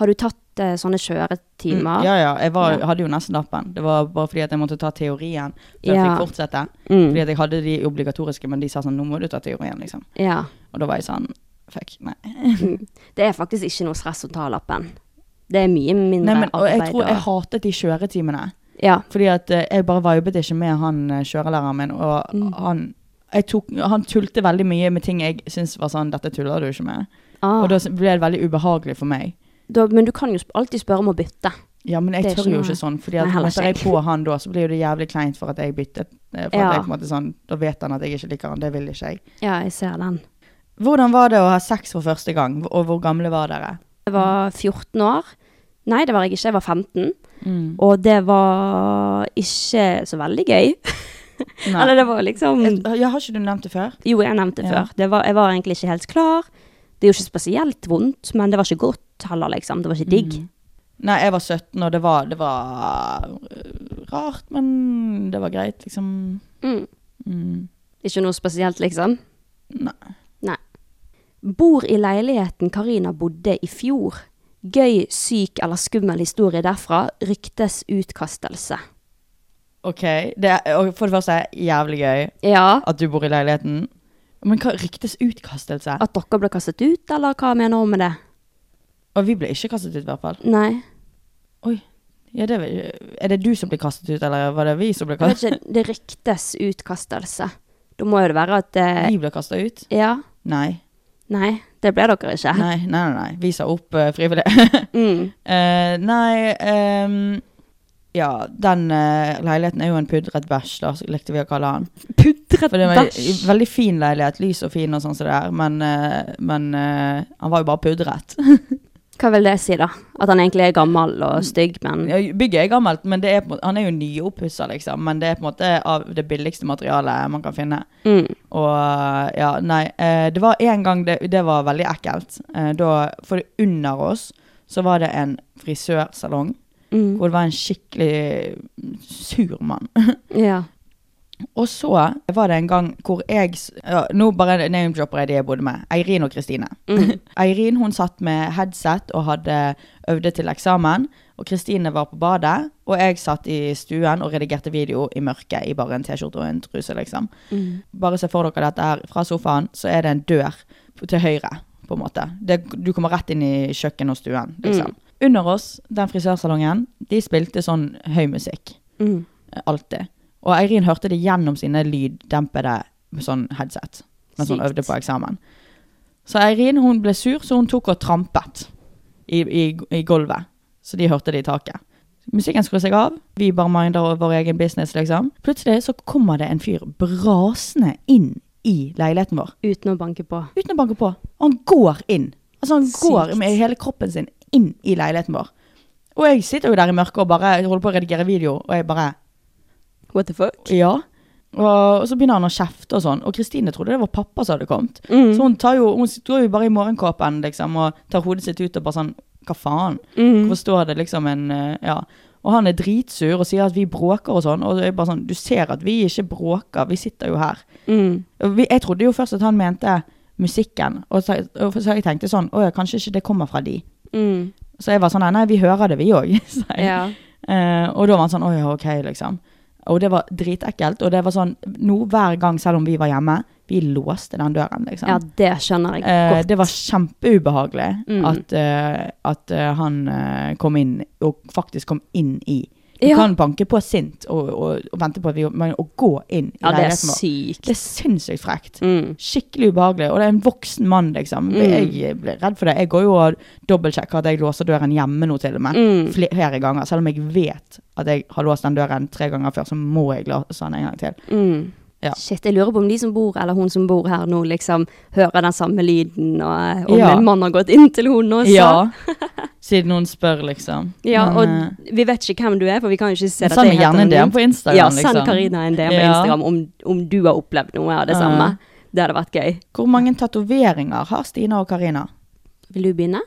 Har du tatt eh, sånne Mm, kjøretimer? ja, ja. Jeg var, Ja. hadde jo nesten lappen. Det var bare fordi at jeg måtte ta teorien før jeg Ja. fikk fortsette. Mm. Fordi at jeg hadde de obligatoriske, men de sa sånn, nå må du ta teorien, liksom. ja. Og da var jeg sånn, fuck, nei. Det er faktisk ikke noe stress å ta lappen. Det er mye mindre Nei, men, og jeg arbeid. tror og- jeg hatet de kjøretimene. ja. Fordi at eh, jeg bare vibet ikke med han eh, kjørelæreren min, og Mm. han, jeg tok, han tulte veldig mye med ting jeg syntes var sånn, dette tuller du ikke med. Ah, Og da s- ble det veldig ubehagelig for meg. da, men du kan jo sp- alltid spørre om å bytte. Ja, men jeg Det er tør ikke jo noe- ikke sånn, fordi Nei, at heller møter jeg ikke jeg. på han da, så blir det jævlig kleint for at jeg byttet. eh, For Ja. at jeg på en måte sånn, da vet han at jeg ikke liker han, det vil ikke jeg. Ja, jeg ser den. Hvordan var det å ha sex for første gang, og hvor gamle var dere? Jeg var 14 år. Nei, det var jeg ikke. Jeg var 15. Og det var ikke så veldig gøy. Nei. Eller det var liksom Ja, har ikke du nevnt det før? Jo, jeg nevnte det Ja. før. Det var, jeg var egentlig ikke helt klar. Det er jo ikke spesielt vondt, men det var ikke godt heller, liksom. Det var ikke Mm. digg. Nei, jeg var 17, og det var, det var øh, rart, men det var greit, liksom. Mm. Mm. Ikke noe spesielt, liksom. Nei. Nei. Bor i leiligheten Karina bodde i fjor. Gøy, syk eller skummel historie derfra. Ryktes utkastelse. Ok, det er, og for det første, jævlig gøy Ja. at du bor i leiligheten. Men hva ryktes utkastelse? At dere ble kastet ut, eller hva mener hun med det? og vi ble ikke kastet ut i hvert fall. Nei. Oi, ja, det, er- er det du som ble kastet ut, eller var det vi som ble Jeg vet kastet ut? ikke, det ryktes utkastelse. Da må jo det være at eh, Vi ble kastet ut? Ja. Nei. Nei, det ble dere ikke. Nei, nei, nei, nei. Vi sa opp eh, frivillig. Mm. Eh, nei, ehm, ja, den eh, leiligheten er jo en pudret bæsj, da, så likte vi å kalle han. For det var en Pudret veldig fin leilighet, lys og fin og sånn som det er, men, eh, men eh, han var jo bare pudret. Hva vil det si, da? At han egentlig er gammel og stygg, men Ja, Bygget er gammelt, men det er på, en måte- han er jo nyoppusset, liksom, men det er på en måte av det billigste materialet man kan finne. mm. Og ja, nei, eh, det var en gang det, det var veldig ekkelt. Eh, Da, for under oss så var det en frisørsalong, Mm. hvor det var en skikkelig sur mann. Ja. Og så var det en gang hvor jeg, s- ja, nå bare name-dropper jeg de jeg bodde med, Eirin og Kristine. Eirin hun satt med headset og hadde øvde til eksamen, og Kristine var på badet, og jeg satt i stuen og redigerte video i mørket i bare en t-skjorte og en truse, liksom. Bare se for dere dette her, fra sofaen så er det en dør på- til høyre, på en måte. Det, du kommer rett inn i kjøkken og stuen, liksom. Under oss, den frisørsalongen, de spilte sånn høy musikk. Mm. Eh, Alltid. Og Eirin hørte det gjennom sine lyddempede sånn headset mens hun Sykt. øvde på eksamen. Så Eirin hun ble sur, så hun tok og trampet i, i, i gulvet. Så de hørte det i taket. Musikken skrur seg av, vi bare minder vår egen business, liksom. Plutselig så kommer det en fyr brasende inn i leiligheten vår Uten å banke på. uten å banke på. Og han går inn. Altså Han Sykt. går med hele kroppen sin inn i leiligheten vår. Og jeg sitter jo der i mørket og bare holder på å redigere video, og jeg bare What the fuck? Ja. Og, og så begynner han å kjefte og sånn. Og Kristine trodde det var pappa som hadde kommet. Mm. Så hun tar jo, hun står jo bare i morgenkåpen liksom, og tar hodet sitt ut og bare sånn Hva faen? Mm. Hvorfor står det liksom en eh, Ja. Og han er dritsur og sier at vi bråker og sånn. Og det er bare sånn, du ser at vi ikke bråker, vi sitter jo her. Mm. Og vi, jeg trodde jo først at han mente musikken, og så, og så jeg tenkte sånn Å ja, kanskje ikke det kommer fra de. Mm. Så jeg var sånn Nei, nei vi hører det, vi òg. sa jeg. Ja. Eh, og da var han sånn, åja, ok, liksom. Og det var dritekkelt, og det var sånn, nå hver gang, selv om vi var hjemme, vi låste den døren, liksom. ja, det skjønner jeg Eh, godt. det var kjempeubehagelig Mm. at, eh, at eh, han eh, kom inn, og faktisk kom inn i. Du Ja. kan banke på sint og, og, og vente på at vi, men å gå inn i ja, det er leiligheten vår. sykt. Det er sinnssykt frekt. Mm. Skikkelig ubehagelig, og det er en voksen mann, liksom. Jeg ble redd for det. Jeg går jo og dobbeltsjekker at jeg låser døren hjemme nå, til og med. Mm. Flere ganger. Selv om jeg vet at jeg har låst den døren tre ganger før, så må jeg låse den en gang til. Mm. Ja. Shit, jeg lurer på om de som bor, eller hun som bor her nå, liksom hører den samme lyden, og eh, om Ja. en mann har gått inn til hun også. Ja. Siden noen spør, liksom. Ja, Men, eh, og vi vet ikke hvem du er, for vi kan jo ikke se Men dette. send helt gjerne en DM anonymt. på Instagram, Ja, send liksom. Karina en DM på Ja. Instagram om, om du har opplevd noe av det Ja. samme. Det hadde vært gøy. hvor mange tatoveringer har Stina og Karina? Vil du begynne?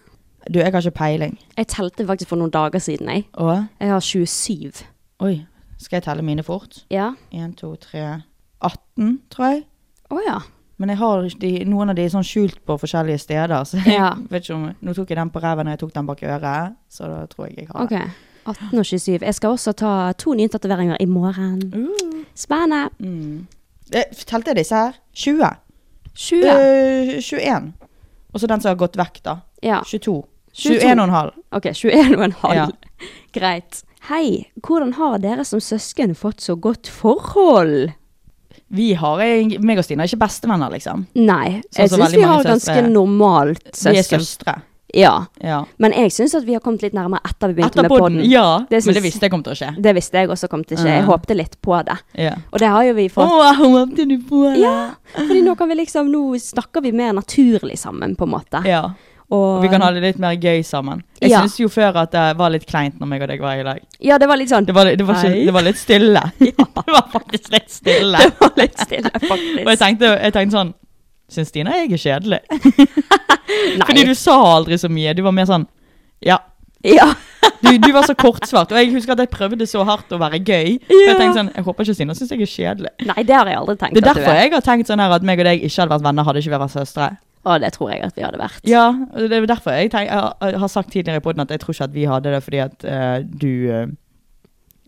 Du, jeg har ikke peiling. Jeg telte faktisk for noen dager siden, jeg. Og Jeg har 27. Oi, skal jeg telle mine fort? Ja. 1, 2, 3 18, tror jeg. Å ja. Men jeg har de, noen av de sånn skjult på forskjellige steder. Så jeg Ja. vet ikke om, nå tok jeg den på ræven, og jeg tok den bak øret, så da tror jeg jeg har Ok. 18 og 27. Jeg skal også ta to nye tatoveringer i morgen. Mm. Spennende. det. Eh, Telte jeg disse her? 20. 20. Eh, 21. Og så den som har gått vekk, da. Ja. 22. 22. 21,5. Ok, 21,5. Ja. Greit. Hei, hvordan har dere som søsken fått så godt forhold? Vi har, eg- meg og Stine er ikke bestevenner, liksom. Nei, Sånn jeg som syns veldig vi mange har ganske søstre. normalt Vi er søsken. søstre. Ja, Ja. men jeg syns at vi har kommet litt nærmere etter vi begynte Etter med podden. podden, ja. Det syns- Men det visste jeg kom til å skje. Det visste jeg også kom til ikke. Jeg Ja. håpte litt på det. Ja. Og det har jo vi fått. Åh, håpte du på det? Ja, fordi nå kan vi liksom, nå snakker vi mer naturlig sammen, på en måte. ja. Og, Og vi kan ha det litt mer gøy sammen. Jeg Ja. synes jo før at det var litt kleint når meg og deg var i lag. Ja, det var litt sånn Det var, det var, Hei. ikke, det var litt stille. det var faktisk litt stille. Det var litt stille, faktisk. Og jeg tenkte, jeg tenkte sånn Syns Stina jeg er kjedelig? Nei. Fordi du sa aldri så mye. Du var mer sånn Ja. Ja. Du, du var så kortsvart. Og jeg husker at jeg prøvde så hardt å være gøy. Og Ja. jeg tenkte sånn Jeg håper ikke Stina syns jeg er kjedelig. Nei, det har jeg aldri tenkt Det er at du derfor jeg har tenkt sånn her at meg og deg ikke hadde vært venner hadde ikke vi vært søstre. Å, det tror jeg at vi hadde vært. Ja, og Det er derfor jeg, tenk, jeg har- jeg har sagt tidligere i podden at jeg tror ikke at vi hadde det fordi at eh, du eh,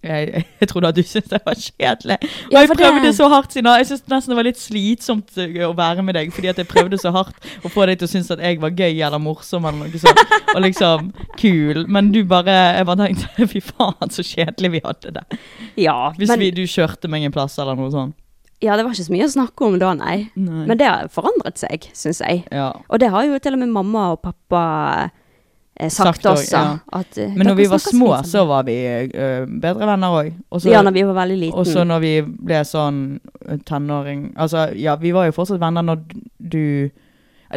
jeg, jeg trodde at du syntes jeg var kjedelig. Og Ja, jeg for det- prøvde så hardt siden Jeg syntes nesten det var litt slitsomt eh, å være med deg, fordi at jeg prøvde så hardt å få deg til å synes at jeg var gøy eller morsom eller noe sånt. Og liksom kul. Men du bare Jeg bare tenkte fy faen, så kjedelig vi hadde det. Ja, Hvis men, vi, du kjørte meg en plass eller noe sånt. ja, det var ikke så mye å snakke om da, nei. Nei. Men det har forandret seg, syns jeg. Ja. Og det har jo til og med mamma og pappa eh, sagt, Sagt også, også. ja. At, eh, Men når dere vi var snakker små, fint sammen. så var vi eh, bedre venner òg. Og så Ja, når vi var veldig liten. Og så når vi ble sånn eh, tenåring Altså, ja, vi var jo fortsatt venner når du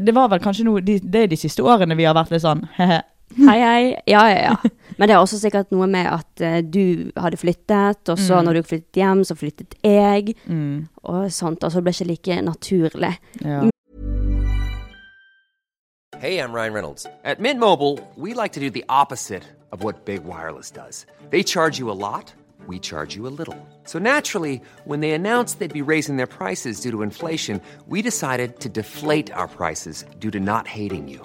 Det var vel kanskje noe de, Det er de siste årene vi har vært litt sånn he-he. Hei, hei. Ja, ja, ja. Men det er også sikkert noe med at eh, du hadde flyttet, og så når du flyttet hjem, så flyttet jeg, Mm, og sånt. Og så ble det ikke like naturlig. ja. Hey, I'm Ryan Reynolds. At Mint Mobile, we like to do the opposite of what Big Wireless does. They charge you a lot, we charge you a little. So naturally, when they announced they'd be raising their prices due to inflation, we decided to deflate our prices due to not hating you.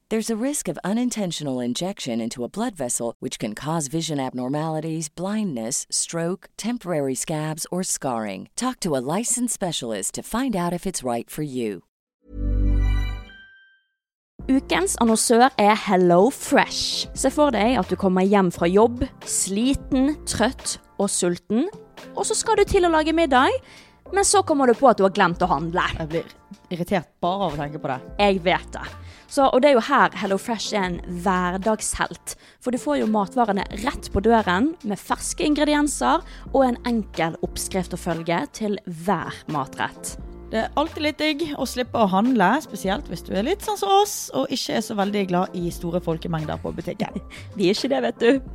There's a risk of unintentional injection into a blood vessel, which can cause vision abnormalities, blindness, stroke, temporary scabs, or scarring. Talk to a licensed specialist to find out if it's right for you. Ukens annonsør er Hello Fresh. Se for deg at du kommer hjem fra jobb, sliten, trøtt og sulten. Og så skal du til å lage middag, men så kommer du på at du har glemt å handle. Jeg blir irritert bare av å tenke på det. Jeg vet det. Så, og det er jo her Hello Fresh er en hverdagshelt. For du får jo matvarene rett på døren med ferske ingredienser og en enkel oppskrift å følge til hver matrett. Det er alltid litt digg å slippe å handle, spesielt hvis du er litt sånn som oss og ikke er så veldig glad i store folkemengder på butikken. Vi er ikke det, vet du.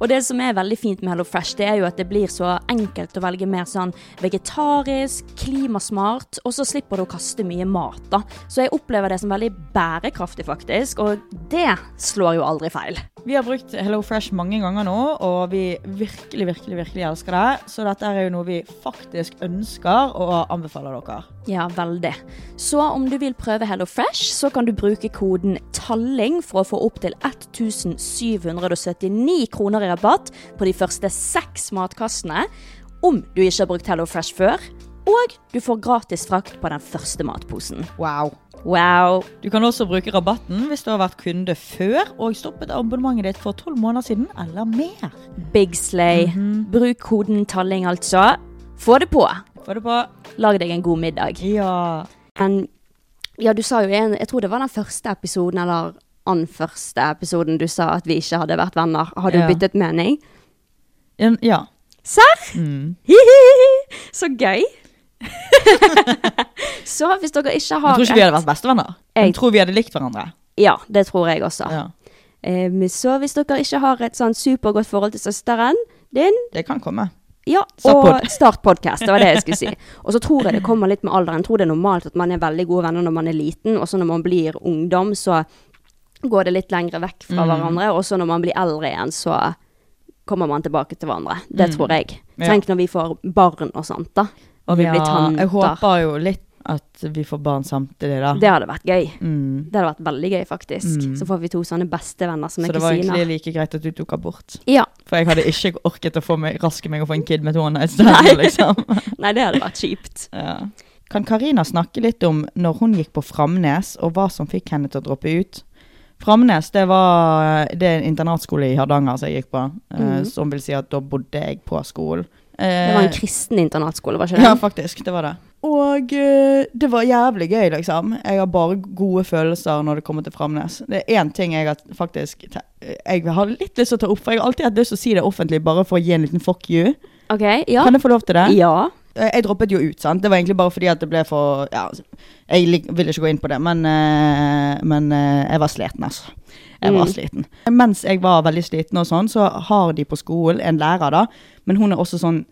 Og det som er veldig fint med Hello Fresh, det er jo at det blir så enkelt å velge mer sånn vegetarisk, klimasmart, og så slipper du å kaste mye mat, da. Så jeg opplever det som veldig bærekraftig, faktisk, og det slår jo aldri feil. Vi har brukt Hello Fresh mange ganger nå, og vi virkelig, virkelig, virkelig elsker det. Så dette er jo noe vi faktisk ønsker og anbefaler dere. Ja, veldig. Så om du vil prøve Hello Fresh, så kan du bruke koden TALLING for å få opptil 1779 kroner i rabatt på de første seks matkassene, om du ikke har brukt Hello Fresh før, og du får gratis frakt på den første matposen. Wow. Wow! Du kan også bruke rabatten hvis du har vært kunde før og stoppet abonnementet ditt for 12 måneder siden eller mer. Big slay. Bruk koden TALLING, altså. Få det på! Få det på. Lag deg en god middag. Ja. Men Ja, du sa jo i en Jeg tror det var den første episoden, eller den første episoden du sa at vi ikke hadde vært venner. Har du Ja. byttet mening? En- Ja. Serr? Mm. Så gøy. så hvis dere ikke Jeg har tror ikke vi hadde vært bestevenner. Jeg- Jeg tror vi hadde likt hverandre. Ja, det tror jeg også. Ja. Ehm, så hvis dere ikke har et sånn supergodt forhold til søsteren din, Det kan komme. ja, Start og pod. start podkast. Det var det jeg skulle si. Og så tror jeg det kommer litt med alderen. Jeg tror det er normalt at man er veldig gode venner når man er liten, og så når man blir ungdom, så går det litt lengre vekk Mm. fra hverandre. Og så når man blir eldre igjen, så kommer man tilbake til hverandre. Det tror jeg. Mm. Ja. Tenk når vi får barn og sånt, da. Og vi blir tanter. Jeg håper jo litt at vi får barn samtidig, da. Det hadde vært gøy. Mm. Det hadde vært veldig gøy, faktisk. Så får vi to sånne bestevenner som Så er det var egentlig kusiner. like greit at du tok abort. Ja. For jeg hadde ikke orket å få meg, raske meg og få en kid med et one night stand, liksom. Nei, det hadde vært kjipt. Ja. Kan Karina snakke litt om når hun gikk på Framnes, og hva som fikk henne til å droppe ut? Framnes det var det er en internatskole i Hardanger som jeg gikk på, eh, som vil si at da bodde jeg på skolen. Mhm. Eh, Det var en kristen internatskole, var ikke det? Ja, faktisk. Det var det. Og eh, det var jævlig gøy, liksom. Jeg har bare gode følelser når det kommer til Framnes. Det er én ting jeg har faktisk te- Jeg har litt lyst til å ta opp, for jeg har alltid hatt lyst til å si det offentlig bare for å gi en liten fuck you. Ok, ja. Kan jeg få lov til det? Ja. Eh, Jeg droppet jo ut, sant. Det var egentlig bare fordi at det ble for Ja, altså, jeg lik- vil ikke gå inn på det, men, eh, men eh, jeg var sliten, altså. Jeg var Mm. sliten. Mens jeg var veldig sliten og sånn, så har de på skolen en lærer, da, men hun er også sånn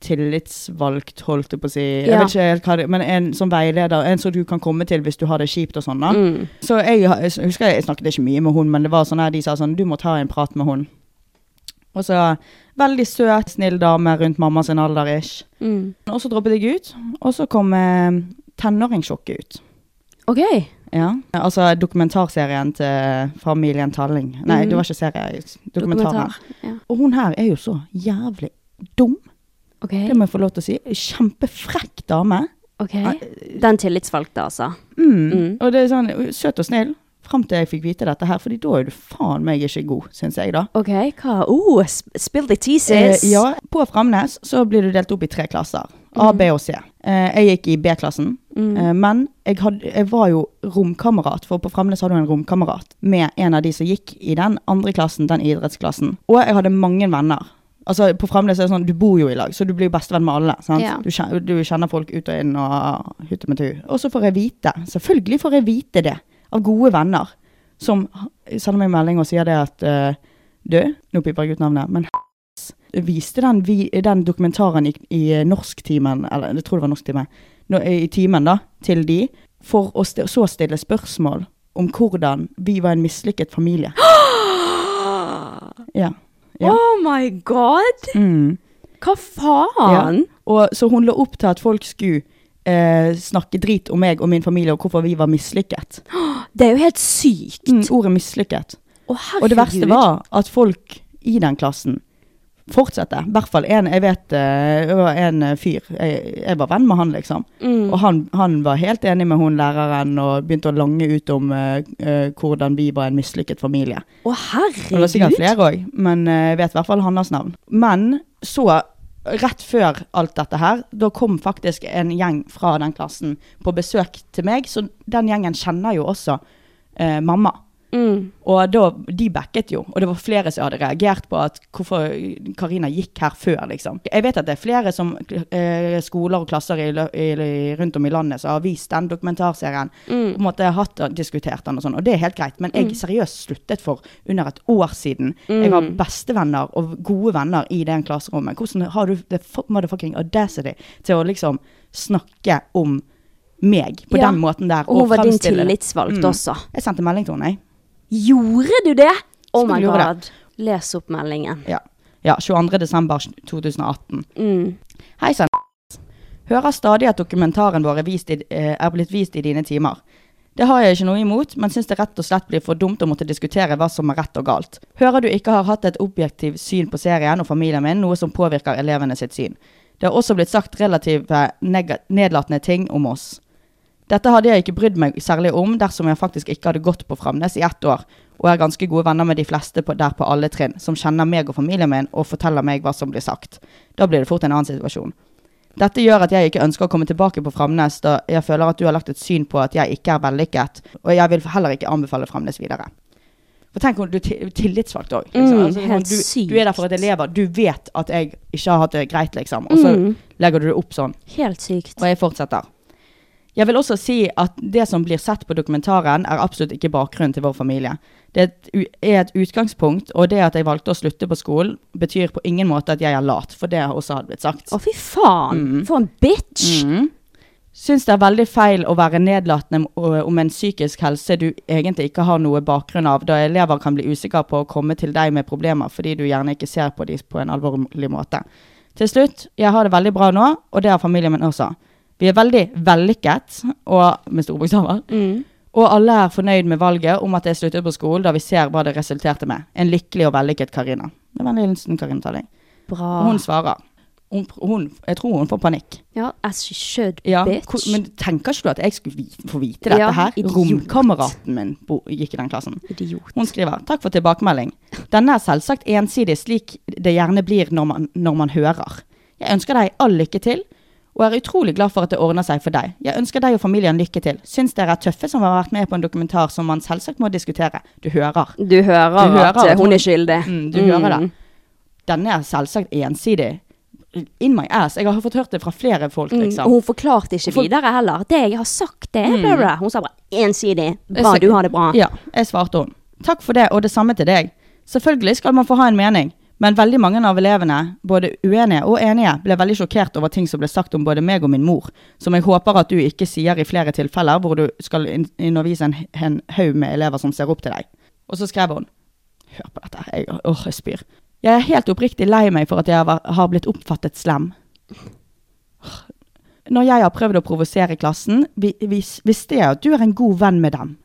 tillitsvalgt, holdt jeg på å si. Jeg Ja. vet ikke helt hva det Men en sånn veileder, en som du kan komme til hvis du har det kjipt og sånn, da. Mm. Så jeg, har- jeg husker jeg snakket ikke mye med hun, men det var sånn her, de sa sånn, du må ta en prat med hun. Og så, veldig søt, snill dame rundt mamma sin alder-ish. Mm. Og så droppet jeg ut, og så kom eh, tenåringssjokket ut. Ok. Ja, altså dokumentarserien til familien Talling. Nei, Mhm. det var ikke serie, dokumentaren. Ja. Og hun her er jo så jævlig dum, Ok. det må jeg få lov til å si. Kjempefrekk dame. ok. Ah, eh, Den tillitsvalgte, altså. Mm. Mm. Og det er sånn, uh, søt og snill. Frem til jeg fikk vite dette her, fordi da er du faen meg ikke god, synes jeg da. Ok, hva? Oh, sp- spill the tea, sis. Eh, ja, på Framnes så blir du delt opp i tre klasser. A, B og C. Eh, jeg gikk i B-klassen, eh, men jeg, hadde, jeg var jo romkamerat, for på Framnes hadde du en romkamerat med en av de som gikk i den andre klassen, den idrettsklassen. Og jeg hadde mange venner. Altså, på Framnes er det sånn, du bor jo i lag, så du blir jo bestevenn med alle. Sant? Ja. Du, kjenner, du kjenner folk ut og inn og hytte med tu. Og så får jeg vite, selvfølgelig får jeg vite det, av gode venner, som sender meg melding og sier det at eh, du, nå piper jeg ut navnet, men viste den, vi, den dokumentaren i, i eh, norsktimen, eller jeg tror det var norsktimen, nå- eh, i timen da, til de, for å st så stille spørsmål om hvordan vi var en mislykket familie. Ja. ja. Oh my god! Mm. Hva faen? Ja. Og, så hun la opp til at folk skulle eh, snakke drit om meg og min familie, og hvorfor vi var mislykket. Det er jo helt sykt. Mm, ordet mislykket. Å, herregud. Og det verste var at folk i den klassen fortsatte. I hvert fall en, jeg vet, eh, det var en eh, fyr, jeg, jeg var venn med han liksom. Og han, han var helt enig med hun læreren og begynte å lange ut om eh, eh, hvordan vi var en mislykket familie. Å, Og det var sikkert herregud. flere òg, men eh, jeg vet i hvert fall hans navn. Men så, rett før alt dette her, da kom faktisk en gjeng fra den klassen på besøk til meg, så den gjengen kjenner jo også eh, mamma. Mm. Og da, de backet jo, og det var flere som hadde reagert på at hvorfor Karina gikk her før, liksom. Jeg vet at det er flere som, eh, skoler og klasser i, lø- i, rundt om i landet som har vist den dokumentarserien, Mm. på en måte hatt og diskutert den og sånn, og det er helt greit, men jeg seriøst sluttet for under et år siden. Jeg Mm. har bestevenner og gode venner i den klasserommet. Hvordan har du the fu- motherfucking audacity til å liksom snakke om meg på Ja. den måten der? Og hun var din fremstille det? tillitsvalgte Mm. også. Jeg sendte melding til henne, jeg. Gjorde du det? Oh my Selvfølgelig gjorde jeg god. Les opp meldingen. Ja. ja 22. desember 2018. Hei sann. Hører stadig at dokumentaren vår er, vist i, eh, er blitt vist i dine timer. Det har jeg ikke noe imot, men syns det rett og slett blir for dumt å måtte diskutere hva som er rett og galt. Hører du ikke har hatt et objektivt syn på serien og familien min, noe som påvirker elevene sitt syn. Det har også blitt sagt relative nega- nedlatende ting om oss. Dette hadde jeg ikke brydd meg særlig om dersom jeg faktisk ikke hadde gått på Framnes i ett år, og er ganske gode venner med de fleste på, der på alle trinn, som kjenner meg og familien min og forteller meg hva som blir sagt. Da blir det fort en annen situasjon. Dette gjør at jeg ikke ønsker å komme tilbake på Framnes, da jeg føler at du har lagt et syn på at jeg ikke er vellykket, og jeg vil heller ikke anbefale Framnes videre. For tenk om du er ti- tillitsvalgt òg. Liksom. Mm, Altså, sånn, helt du, du er der for at sykt. elever. Du vet at jeg ikke har hatt det greit, liksom. Og så Mm. legger du det opp sånn. Helt sykt. Og jeg fortsetter. Jeg vil også si at det som blir sett på dokumentaren, er absolutt ikke bakgrunnen til vår familie. Det er et u- er et utgangspunkt, og det at jeg valgte å slutte på skolen, betyr på ingen måte at jeg er lat, for det også hadde blitt sagt. Å, fy faen! For en bitch! Mm. Syns det er veldig feil å være nedlatende om- om en psykisk helse du egentlig ikke har noe bakgrunn av, da elever kan bli usikre på å komme til deg med problemer fordi du gjerne ikke ser på dem på en alvorlig måte. Til slutt, jeg har det veldig bra nå, og det har familien min også. Vi er veldig vellykket, og med store bokstaver. Mm. Og alle er fornøyd med valget om at jeg sluttet på skolen, da vi ser hva det resulterte med. En lykkelig og vellykket Karina. Med vennlig hilsen Karina Talling. Bra. Og hun svarer. Hun, hun, jeg tror hun får panikk. Ja, as she should, Ja, bitch. hvor- men tenker ikke du at jeg skulle vi- få vite dette Ja, her? idiot. Romkameraten min bo, gikk i den klassen. Idiot. Hun skriver 'Takk for tilbakemelding'. Denne er selvsagt ensidig slik det gjerne blir når man, når man hører. Jeg ønsker deg all lykke til, og er utrolig glad for at det ordner seg for deg. Jeg ønsker deg og familien lykke til. Syns dere er tøffe som har vært med på en dokumentar som man selvsagt må diskutere. Du hører. Du hører, Du hører at eh, at hun hun- er skyldig. Mm, du hører det. Denne er selvsagt ensidig. In my ass. Jeg har fått hørt det fra flere folk, liksom. Og Mm, hun forklarte ikke For- Mm. videre heller. Det jeg har sagt, det er bla, bla. Hun sa bare ensidig. Jeg Bra, sa- du har det bra. Ja, jeg svarte hun. Takk for det, og det samme til deg. Selvfølgelig skal man få ha en mening, men veldig mange av elevene, både uenige og enige, ble veldig sjokkert over ting som ble sagt om både meg og min mor, som jeg håper at du ikke sier i flere tilfeller hvor du skal in- undervise en, en haug med elever som ser opp til deg. Og så skrev hun Hør på dette, jeg, åh, jeg spyr. Jeg er helt oppriktig lei meg for at jeg var- har blitt oppfattet slem. Når jeg har prøvd å provosere klassen, vi- vis- visste jeg at du er en god venn med dem.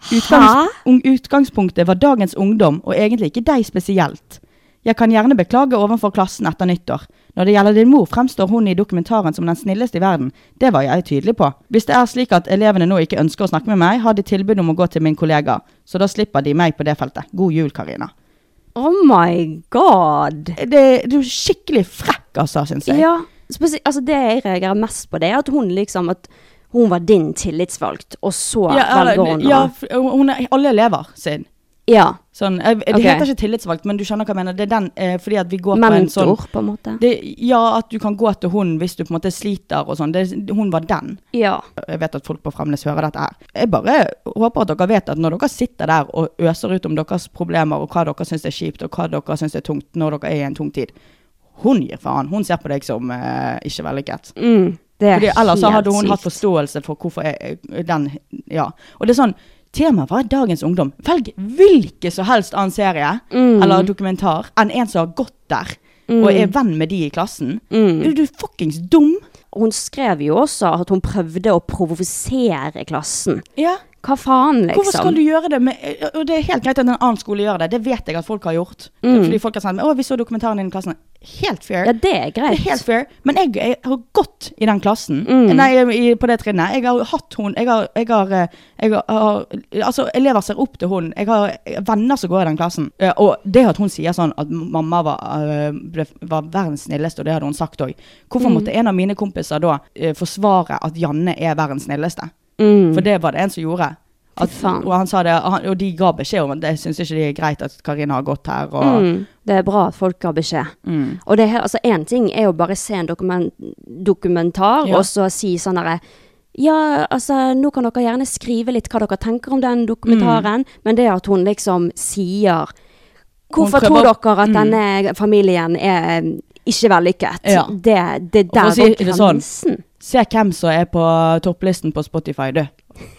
Utgangs un- utgangspunktet var dagens ungdom, og egentlig ikke deg spesielt. Jeg kan gjerne beklage overfor klassen etter nyttår. Når det gjelder din mor, fremstår hun i dokumentaren som den snilleste i verden. Det var jeg tydelig på. Hvis det er slik at elevene nå ikke ønsker å snakke med meg, har de tilbud om å gå til min kollega, så da slipper de meg på det feltet. God jul, Karina. Oh my god. Det, du er skikkelig frekk, altså, syns jeg. Ja, spesi- altså det jeg reagerer mest på, det er at hun liksom at hun var din tillitsvalgt, og så velger eller- hun å ja, f- hun er alle elever sin. ja, Sånn, eh, det Ok. heter ikke tillitsvalgt, men du skjønner hva jeg mener. Det er den, eh, fordi at vi går på en sånn mentor, på en måte. det, ja, at du kan gå til hun hvis du på en måte sliter og sånn. Det- Hun var den. Ja. Jeg vet at folk på Fremnes hører dette her. Jeg bare håper at dere vet at når dere sitter der og øser ut om deres problemer og hva dere syns er kjipt og hva dere syns er tungt når dere er i en tung tid, hun gir faen. Hun ser på deg som eh, ikke vellykket. Mm, det er Fordi ellers så helt hadde hun hatt sykt. forståelse for hvorfor jeg, eh, den Ja. Og det er sånn Temaet var dagens ungdom. Velg hvilken som helst annen serie Mm. eller dokumentar enn en som har gått der og er venn med de i klassen. Mm. Er du fuckings dum? Hun skrev jo også at hun prøvde å provosere klassen. Ja. Hva faen, liksom? Hvorfor skal du gjøre det med eh, Og det er helt greit at en annen skole gjør det, det vet jeg at folk har gjort. Fordi folk har sendt meg 'Å, vi så dokumentaren din i klassen'. Helt fair. Mm. Ja, det er greit. Det er helt fair. Men jeg, jeg har gått i den klassen. Mm. Nei, i, på det trinnet. Jeg har hatt hun Jeg har, jeg har, eh, jeg har Altså, elever ser opp til hun. Jeg har venner som går i den klassen. Eh, Og det at hun sier sånn at mamma var, eh, ble, var verdens snilleste, og det hadde hun sagt òg. Hvorfor Mm. måtte en av mine kompiser da eh, forsvare at Janne er verdens snilleste? Mm. For det var det en som gjorde. At, faen. og, han sa det, og, han, og de ga beskjed om at jeg syns ikke det er greit at Karina har gått her. Og, Mm, det er bra at folk har beskjed. Mm. Og det er, he- altså, en ting er jo bare se en dokumen- dokumentar, Ja. og så si sånn derre ja, altså, nå kan dere gjerne skrive litt hva dere tenker om den Mm. dokumentaren, men det at hun liksom sier Hvorfor prøver- Mm. tror dere at denne familien er eh, ikke vellykket? Ja. Det, det Og for der å si går det sånn, grensen. Se hvem som er på topplisten på Spotify, du.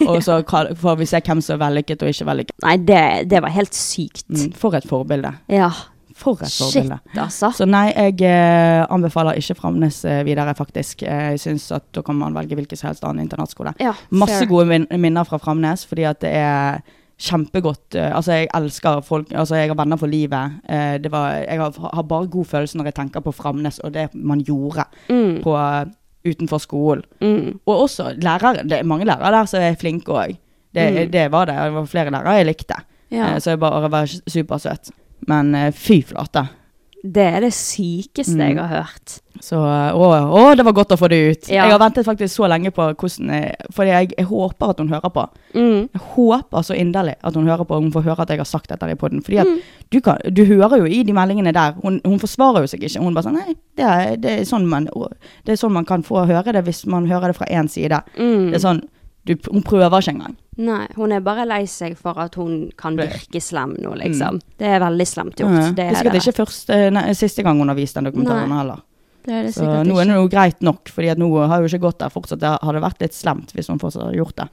Og så kall- får vi se hvem som er vellykket og ikke vellykket. Nei, det, det var helt sykt. Mm, For et forbilde. Ja. For et Shit, forbilde. altså. Så nei, jeg eh, anbefaler ikke Framnes eh, videre, faktisk. Eh, Jeg syns at da kan man velge hvilken som helst annen internatskole. Ja, Masse fair. gode min minner fra Framnes, fordi at det er kjempegodt. eh, Altså, jeg elsker folk Altså, jeg har venner for livet. Eh, Det var, jeg har, har bare god følelse når jeg tenker på Framnes og det man gjorde Mm. på, eh, utenfor skolen. Og også lærere. Det er mange lærere der som er flinke òg. Det, det var det. Det var flere lærere jeg likte. Mm. Ja. Eh, Så jeg bare var supersøt. Men eh, fy flate. Det er det sykeste Mm. jeg har hørt. Så eh, å, å, det var godt å få det ut. Ja. Jeg har ventet faktisk så lenge på hvordan jeg, Fordi jeg, jeg håper at hun hører på. Mm. Jeg håper så inderlig at hun hører på, og hun får høre at jeg har sagt dette i podden. Fordi Mm. at du, kan, du hører jo i de meldingene der, hun, hun forsvarer jo seg ikke. Hun bare sånn, nei, det er, det, er sånn man, det er sånn man kan få høre det hvis man hører det fra én side. Mm. Det er sånn, du, hun prøver ikke engang. Nei, hun er bare lei seg for at hun kan Det- Mm. virke slem nå, liksom. Det er veldig slemt gjort. Ja. Det er er sikkert det. ikke første, eh, nei, siste gang hun har vist den dokumentaren Nei. heller. det, er det Så sikkert nå er ikke. det jo greit nok, fordi at nå har jo ikke gått der fortsatt. Det hadde vært litt slemt hvis hun fortsatt hadde gjort det.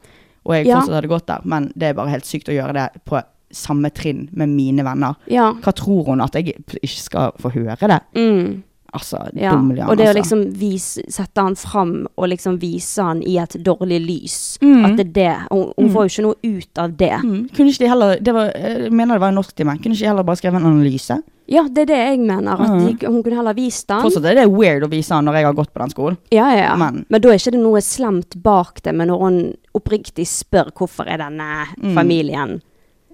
Og jeg Ja. fortsatt hadde gått der, men det er bare helt sykt å gjøre det på samme trinn med mine venner. Ja. Hva tror hun at jeg p- ikke skal få høre det? Mm. Altså, Ja, dummelig han, og det å altså. liksom vise, sette han fram og liksom vise han i et dårlig lys, at det er det. Hun, hun får jo ikke noe ut av det. Mm, Kunne ikke de heller det var, Jeg mener det var en norsktimen. Kunne ikke de heller bare skrevet en analyse? Ja, det er det jeg mener. At Mm. de, hun kunne heller vist han. Fortsatt er det weird å vise han når jeg har gått på den skolen. Ja, ja, ja. Men- Men, da er ikke det noe slemt bak det, men når hun oppriktig spør hvorfor er denne Mm. familien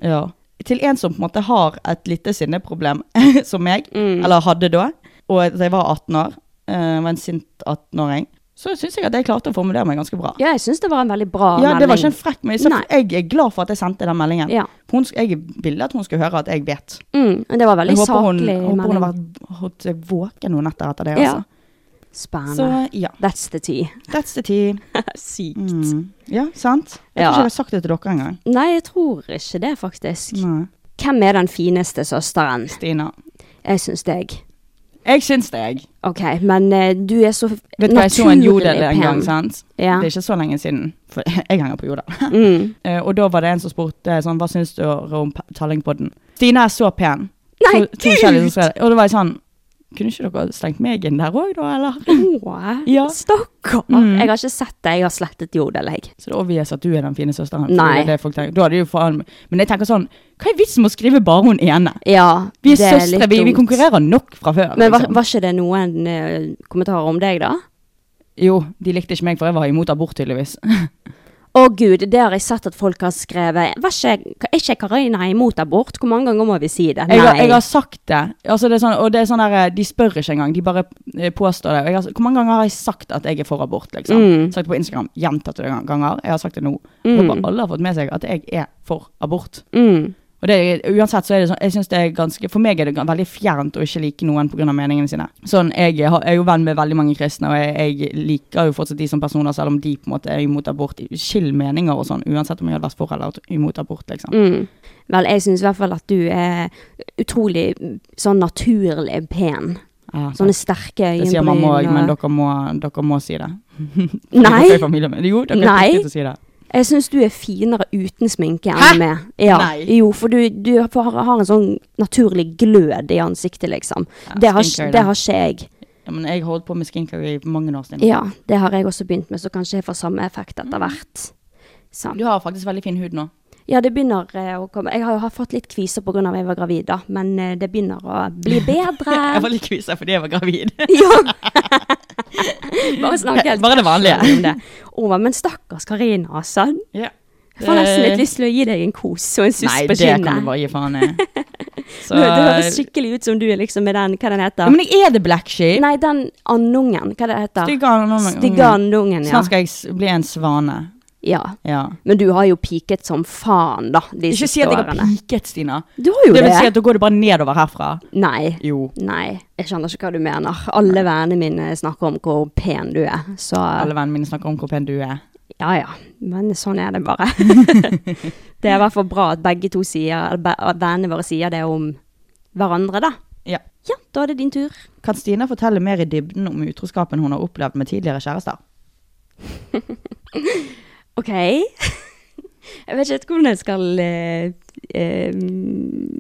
Ja. Til en som på en måte har et lite sinneproblem, som meg, Mm. eller hadde da, og da jeg var 18 år, eh, var en sint 18-åring, så syns jeg at jeg klarte å formulere meg ganske bra. Ja, jeg syns det var en veldig bra Ja, det var ikke melding. en frekk melding. så Nei. Jeg er glad for at jeg sendte den meldingen. Ja. Hun, sk- jeg ville at hun skulle høre at jeg vet. Mm, men det var veldig Jeg håper hun, saklig håper hun har melding. vært holdt seg våken noen netter etter det. Ja. Altså. Så Spennende. ja, That's the tea. that's the tea. Sykt. Mm. Ja, sant? Jeg Ja. tror ikke jeg har sagt det til dere engang. Nei, jeg tror ikke det, faktisk. Nei. Hvem er den fineste søsteren? Stina. Jeg syns deg. Jeg syns det, jeg. Ok, men eh, du er så f- Vet du hva, jeg så en jodel naturlig en gang, pen. sant? Ja. Det er ikke så lenge siden, for jeg henger på jodel. Mm. Eh, og da var det en som spurte sånn, hva syns du om P- Tallingpodden? Stina er så pen. Nei, To- to kjendiser som skrev det. Og da var jeg sånn, kunne ikke dere slengt meg inn der òg, da, eller? Åh, Ja. Stakkar. Mm. Jeg har ikke sett det. Jeg har slettet jodel, jeg. Så det er obvious at du er den fine søsteren. for Nei. det er Det folk tenker. da er det jo faen, men jeg tenker sånn, hva er vitsen med å skrive bare hun ene? Ja, Vi er det er søstre, litt vi, vi dumt. konkurrerer nok fra før. Men var, liksom. var ikke det noen eh, kommentarer om deg, da? Jo, de likte ikke meg, for jeg var imot abort, tydeligvis. Å gud, det har jeg sett at folk har skrevet. Var ikke, er ikke Karina imot abort? Hvor mange ganger må vi si det? Jeg har, jeg har sagt det. Altså det er sånn, og det er sånn der, eh, de spør ikke engang, de bare eh, påstår det. Og Jeg har, hvor mange ganger har jeg sagt at jeg er for abort? Liksom? Mm. Sagt det på Instagram gjentatte gang- ganger. Jeg har sagt det nå. Håper alle har fått med seg at jeg er for abort. Mm. Og det, er- uansett så er det sånn, jeg synes det er ganske, For meg er det gan- veldig fjernt å ikke like noen pga. meningene sine. Sånn, jeg, har, jeg er jo venn med veldig mange kristne, og jeg, jeg liker jo fortsatt de som personer, selv om de på en måte er imot abort. Skill meninger og sånn, uansett om jeg hadde vært for eller imot abort. liksom. Mm. Vel, jeg syns i hvert fall at du er utrolig mm, sånn naturlig pen. Ja, Sånne sterke øyenbryn. Det sier mamma òg, og- men dere må, dere må si det. Nei. Dere er i familie med- Jo, dere er Nei. pliktige til å si det. Jeg syns du er finere uten sminke Hæ? enn med. Ja. Nei. Jo, for du, du har, har en sånn naturlig glød i ansiktet, liksom. Ja, det, har, skincare, det da. har ikke jeg. Ja, men jeg holdt på med skincare i mange år siden. Ja, det har jeg også begynt med, så kanskje jeg får samme effekt Mm. etter hvert. Sånn. Sant. Du har faktisk veldig fin hud nå. Ja, det begynner eh, å komme Jeg har jo har fått litt kviser pga. at jeg var gravid, da, men eh, det begynner å bli Jeg var bedre. litt kvisa fordi jeg var gravid. ja. Bare snakk helt Bare det vanlige. casual om det. Å, men stakkars Karina, altså. Ja. Jeg får nesten Eh, litt lyst til å gi deg en kos og en suss Nei, på det kinnet. kan du bare gi faen i. Så- Nå, Det høres skikkelig ut som du er liksom med den, hva den Ja, heter? Men jeg er det black sheep. Nei, den andungen, hva det heter? Styggandungen. Styggandungen, ja. Snart skal jeg s- bli en svane. ja. Ja. Men du har jo piket som faen, da, de Ikke siste si at jeg har årene. piket, Stina. Du har jo Det det. vil si at da går det bare nedover herfra. Nei. Jo. Nei, jeg skjønner ikke hva du mener. Alle vennene mine snakker om hvor pen du er, så Alle vennene mine snakker om hvor pen du er. ja ja. Men sånn er det bare. det er i hvert fall bra at begge to sier, eller be- at vennene våre sier det om hverandre, da. Ja. Ja, da er det din tur. Kan Stina fortelle mer i dybden om utroskapen hun har opplevd med tidligere kjærester? Ok. Jeg vet ikke helt hvordan jeg skal mm, eh, eh,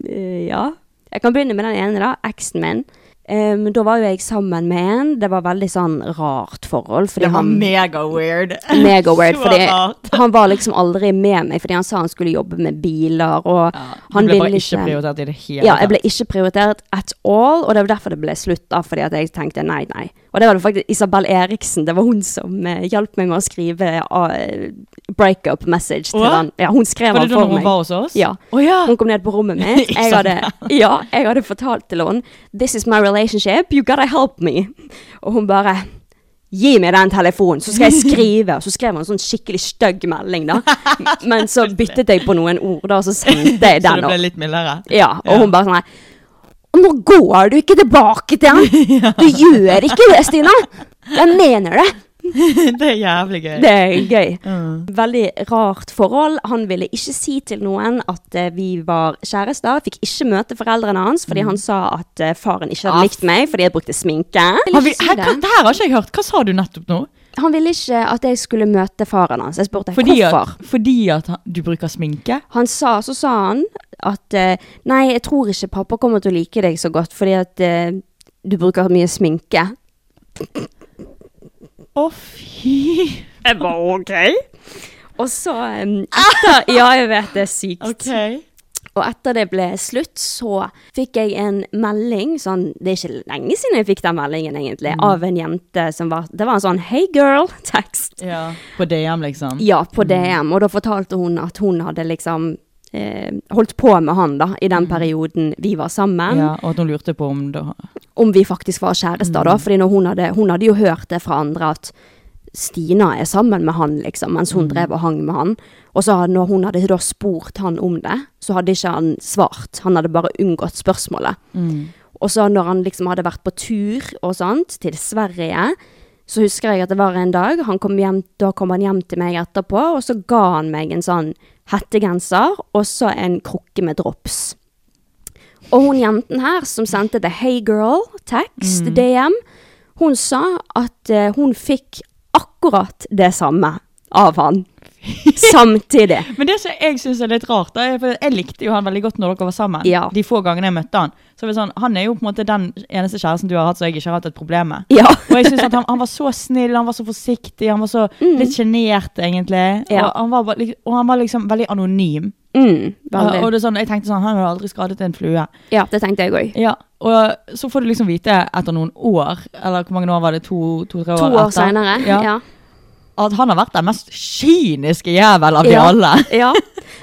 eh, Ja. Jeg kan begynne med den ene, da. Eksen min. Em, da var jo jeg sammen med en. Det var veldig sånn rart forhold. Fordi det var han, mega weird. mega weird, Så fordi rart. han var liksom aldri med meg, fordi han sa han skulle jobbe med biler, og Ja, han du ble bare ville liksom- ikke prioritert i det hele Ja, jeg ble ikke prioritert at all, og det var derfor det ble slutt, da, fordi at jeg tenkte nei, nei. Og det var det faktisk Isabel Eriksen, det var hun som eh, hjalp meg med å skrive eh, breakup message til Hva? han. Ja, hun skrev Var han det da for hun meg. var hos oss? Ja. Å ja. Hun kom ned på rommet mitt. Jeg hadde, ja, jeg hadde fortalt til henne This is my relationship, you gotta help me. Og hun bare Gi meg den telefonen, så skal jeg skrive. Og så skrev hun en sånn skikkelig stygg melding, da. Men så byttet jeg på noen ord, da, og så sendte jeg Så den. det ble opp. litt mildere? Ja, og hun bare sånn her «Og Nå går du ikke tilbake til han! Du gjør ikke det, Stina! Jeg mener det! Det er jævlig gøy. Det er gøy. Veldig rart forhold. Han ville ikke si til noen at eh, vi var kjærester. Fikk ikke møte foreldrene hans Mm. fordi han sa at eh, faren ikke Ah. hadde likt meg fordi jeg brukte sminke. Har vi, Ville ikke si her, hva, det. det her har ikke jeg hørt. Hva sa du nettopp nå? Han ville ikke at jeg skulle møte faren hans. Jeg spurte Fordi hvorfor. at, fordi at han, du bruker sminke? Han sa, så sa han at eh, nei, jeg tror ikke pappa kommer til å like deg så godt fordi at eh, du bruker mye sminke. Å, fy. Jeg var ok. Og så em, etter, Ja, jeg vet det er sykt. Ok. Og etter det ble slutt, så fikk jeg en melding sånn, Det er ikke lenge siden jeg fikk den meldingen, egentlig. Mm. Av en jente som var Det var en sånn 'Hey girl'-tekst. Ja. På DM, liksom? Ja, på DM. Og da fortalte hun at hun hadde liksom eh, holdt på med han, da, i den perioden vi var sammen. Mm. Ja, og at hun lurte på om da Om vi faktisk var kjærester, da. Fordi når hun, hadde, hun hadde jo hørt det fra andre at Stina er sammen med han, liksom, mens hun drev og hang med han. Og så hadde, når hun hadde da spurt han om det, så hadde ikke han svart. Han hadde bare unngått spørsmålet. Og så når han liksom hadde vært på tur og sånt, til Sverige, så husker jeg at det var en dag, han kom hjem, da kom han hjem til meg etterpå, og så ga han meg en sånn hettegenser, og så en krukke med drops. Og hun jenten her, som sendte det Hey Girl, tekst, Mm. DM, hun sa at eh, hun fikk akkurat det samme av han. Samtidig. Men det som jeg syns er litt rart, da, er for jeg likte jo han veldig godt når dere var sammen. Ja. De få gangene jeg møtte han. Så var det sånn, Han er jo på en måte den eneste kjæresten du har hatt som jeg ikke har hatt et problem med. Ja. Og jeg synes at han, han var så snill, han var så forsiktig, han var så litt sjenert, egentlig. Mm. Ja. Og, han var, bare lik- og han var liksom veldig anonym. Mm, Og, og veldig. det er sånn, jeg tenkte sånn, han har aldri skadet en flue. Ja, det tenkte jeg òg. Ja, Og så får du liksom vite etter noen år, eller hvor mange år var det? To-tre To år, år etter? seinere. Ja, Ja. At han har vært den mest kyniske jævel av de Ja. alle. ja.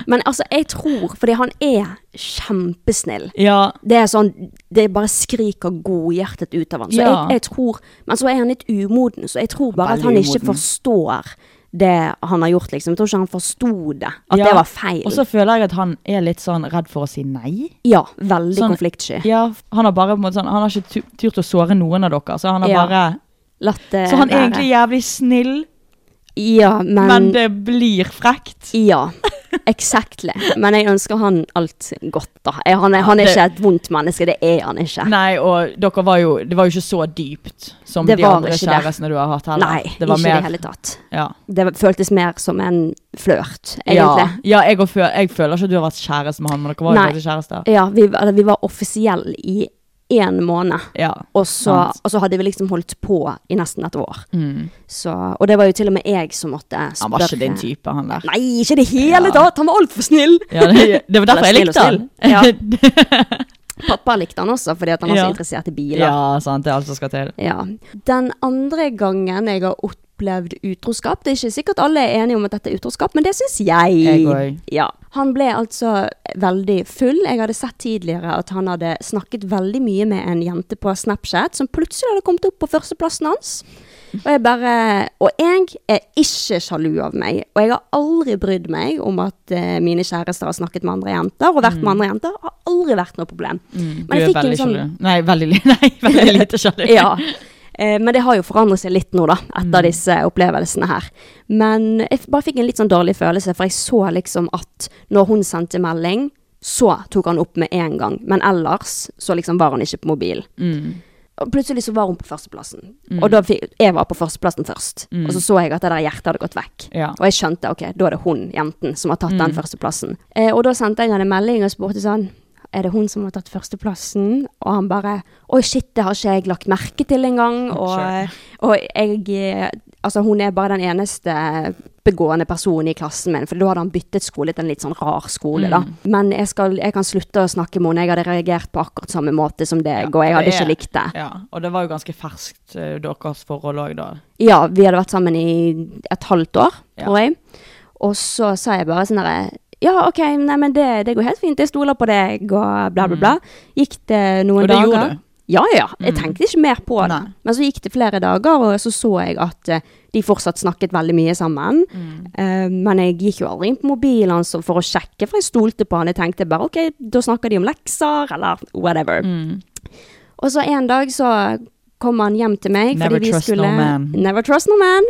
Men altså, jeg tror Fordi han er kjempesnill. Ja, Det er sånn Det bare skriker godhjertet ut av han. Så Ja. jeg, jeg tror Men så er han litt umoden, så jeg tror bare at han Veldig ikke umoden. forstår det han har gjort, liksom. Jeg tror ikke han forsto det. At Ja. det var feil. Og så føler jeg at han er litt sånn redd for å si nei. ja, veldig Sånn- konfliktsky. Ja, Han har bare på en måte sånn, han har ikke tu- turt å såre noen av dere. Så han, har Ja, bare, Latt det så han er være. egentlig jævlig snill, Ja, men, men det blir frekt. Ja. Exactly. Men jeg ønsker han alt godt, da. Jeg- Han er, han er det- ikke et vondt menneske, det er han ikke. Nei, og dere var jo, det var jo ikke så dypt som Det de var andre ikke det. kjærestene du har hatt heller. Nei, det var ikke i det mer, hele tatt. Ja. Det føltes mer som en flørt, Ja, egentlig. ja jeg, og føl, jeg føler ikke at du har vært kjæreste med han, men dere var jo Nei. faktisk kjærester. Ja, vi, eller, vi var offisielle i én måned, Ja. og så, Sant. og så hadde vi liksom holdt på i nesten et år. Så, og det var jo til og med jeg som måtte Mm. spørre. Han var ikke din type, han der. Nei, ikke i det hele tatt! Han var altfor snill! Ja, det, det var derfor jeg Eller likte snill han. og Ja. Pappa likte han også, fordi at han var Ja. så interessert i biler. sant, det er alt som skal til. Ja. Den andre gangen jeg har opplevd utroskap Det er ikke sikkert alle er enige om at dette er utroskap, men det syns jeg. Jeg òg. Ja. Han ble altså veldig full. Jeg hadde sett tidligere at han hadde snakket veldig mye med en jente på Snapchat som plutselig hadde kommet opp på førsteplassen hans. Og jeg bare Og jeg er ikke sjalu av meg. Og jeg har aldri brydd meg om at eh, mine kjærester har snakket med andre jenter, og vært med andre jenter. Har aldri vært noe problem. Mm. Du er veldig sånn sjalu. Nei, veldig, li- nei, veldig lite sjalu. Ja. Eh, Men det har jo forandret seg litt nå, da, etter disse opplevelsene her. Men jeg f- bare fikk en litt sånn dårlig følelse, for jeg så liksom at når hun sendte melding, så tok han opp med en gang. Men ellers så liksom var han ikke på mobilen. Og plutselig så var hun på førsteplassen. Og da fikk, jeg var på førsteplassen først. Og så så jeg at det der hjertet hadde gått vekk. Ja. Og jeg skjønte ok, da er det hun, jenten, som har tatt den førsteplassen. Eh, og da sendte jeg henne en melding og spurte sånn Er det hun som har tatt førsteplassen? Og han bare Oi, shit, det har ikke jeg lagt merke til engang. Og, Sure. og jeg Altså, hun er bare den eneste begående personen i klassen min, for da hadde han byttet skole til en litt sånn rar skole, da. Men jeg, skal, jeg kan slutte å snakke med henne. Jeg hadde reagert på akkurat samme måte som deg, og jeg hadde ikke likt det. Ja, og det var jo ganske ferskt eh, deres forhold òg, da. Ja, vi hadde vært sammen i et halvt år, Ja. tror jeg. Og så sa jeg bare sånn derre Ja, OK, nei, men det, det går helt fint. Jeg stoler på deg, og bla, bla, bla. Gikk det noen Mm. Og det dager gjorde du? Mm. Ja, ja. Jeg tenkte ikke mer på det. Nei. Men så gikk det flere dager, og så så jeg at eh, de fortsatt snakket veldig mye sammen. Mm. Eh, men jeg gikk jo aldri inn på mobilen hans for å sjekke, for jeg stolte på han. Jeg tenkte bare OK, da snakker de om lekser, eller whatever. Og så en dag så kom han hjem til meg. Never fordi vi trust no skulle, man. Never trust no man.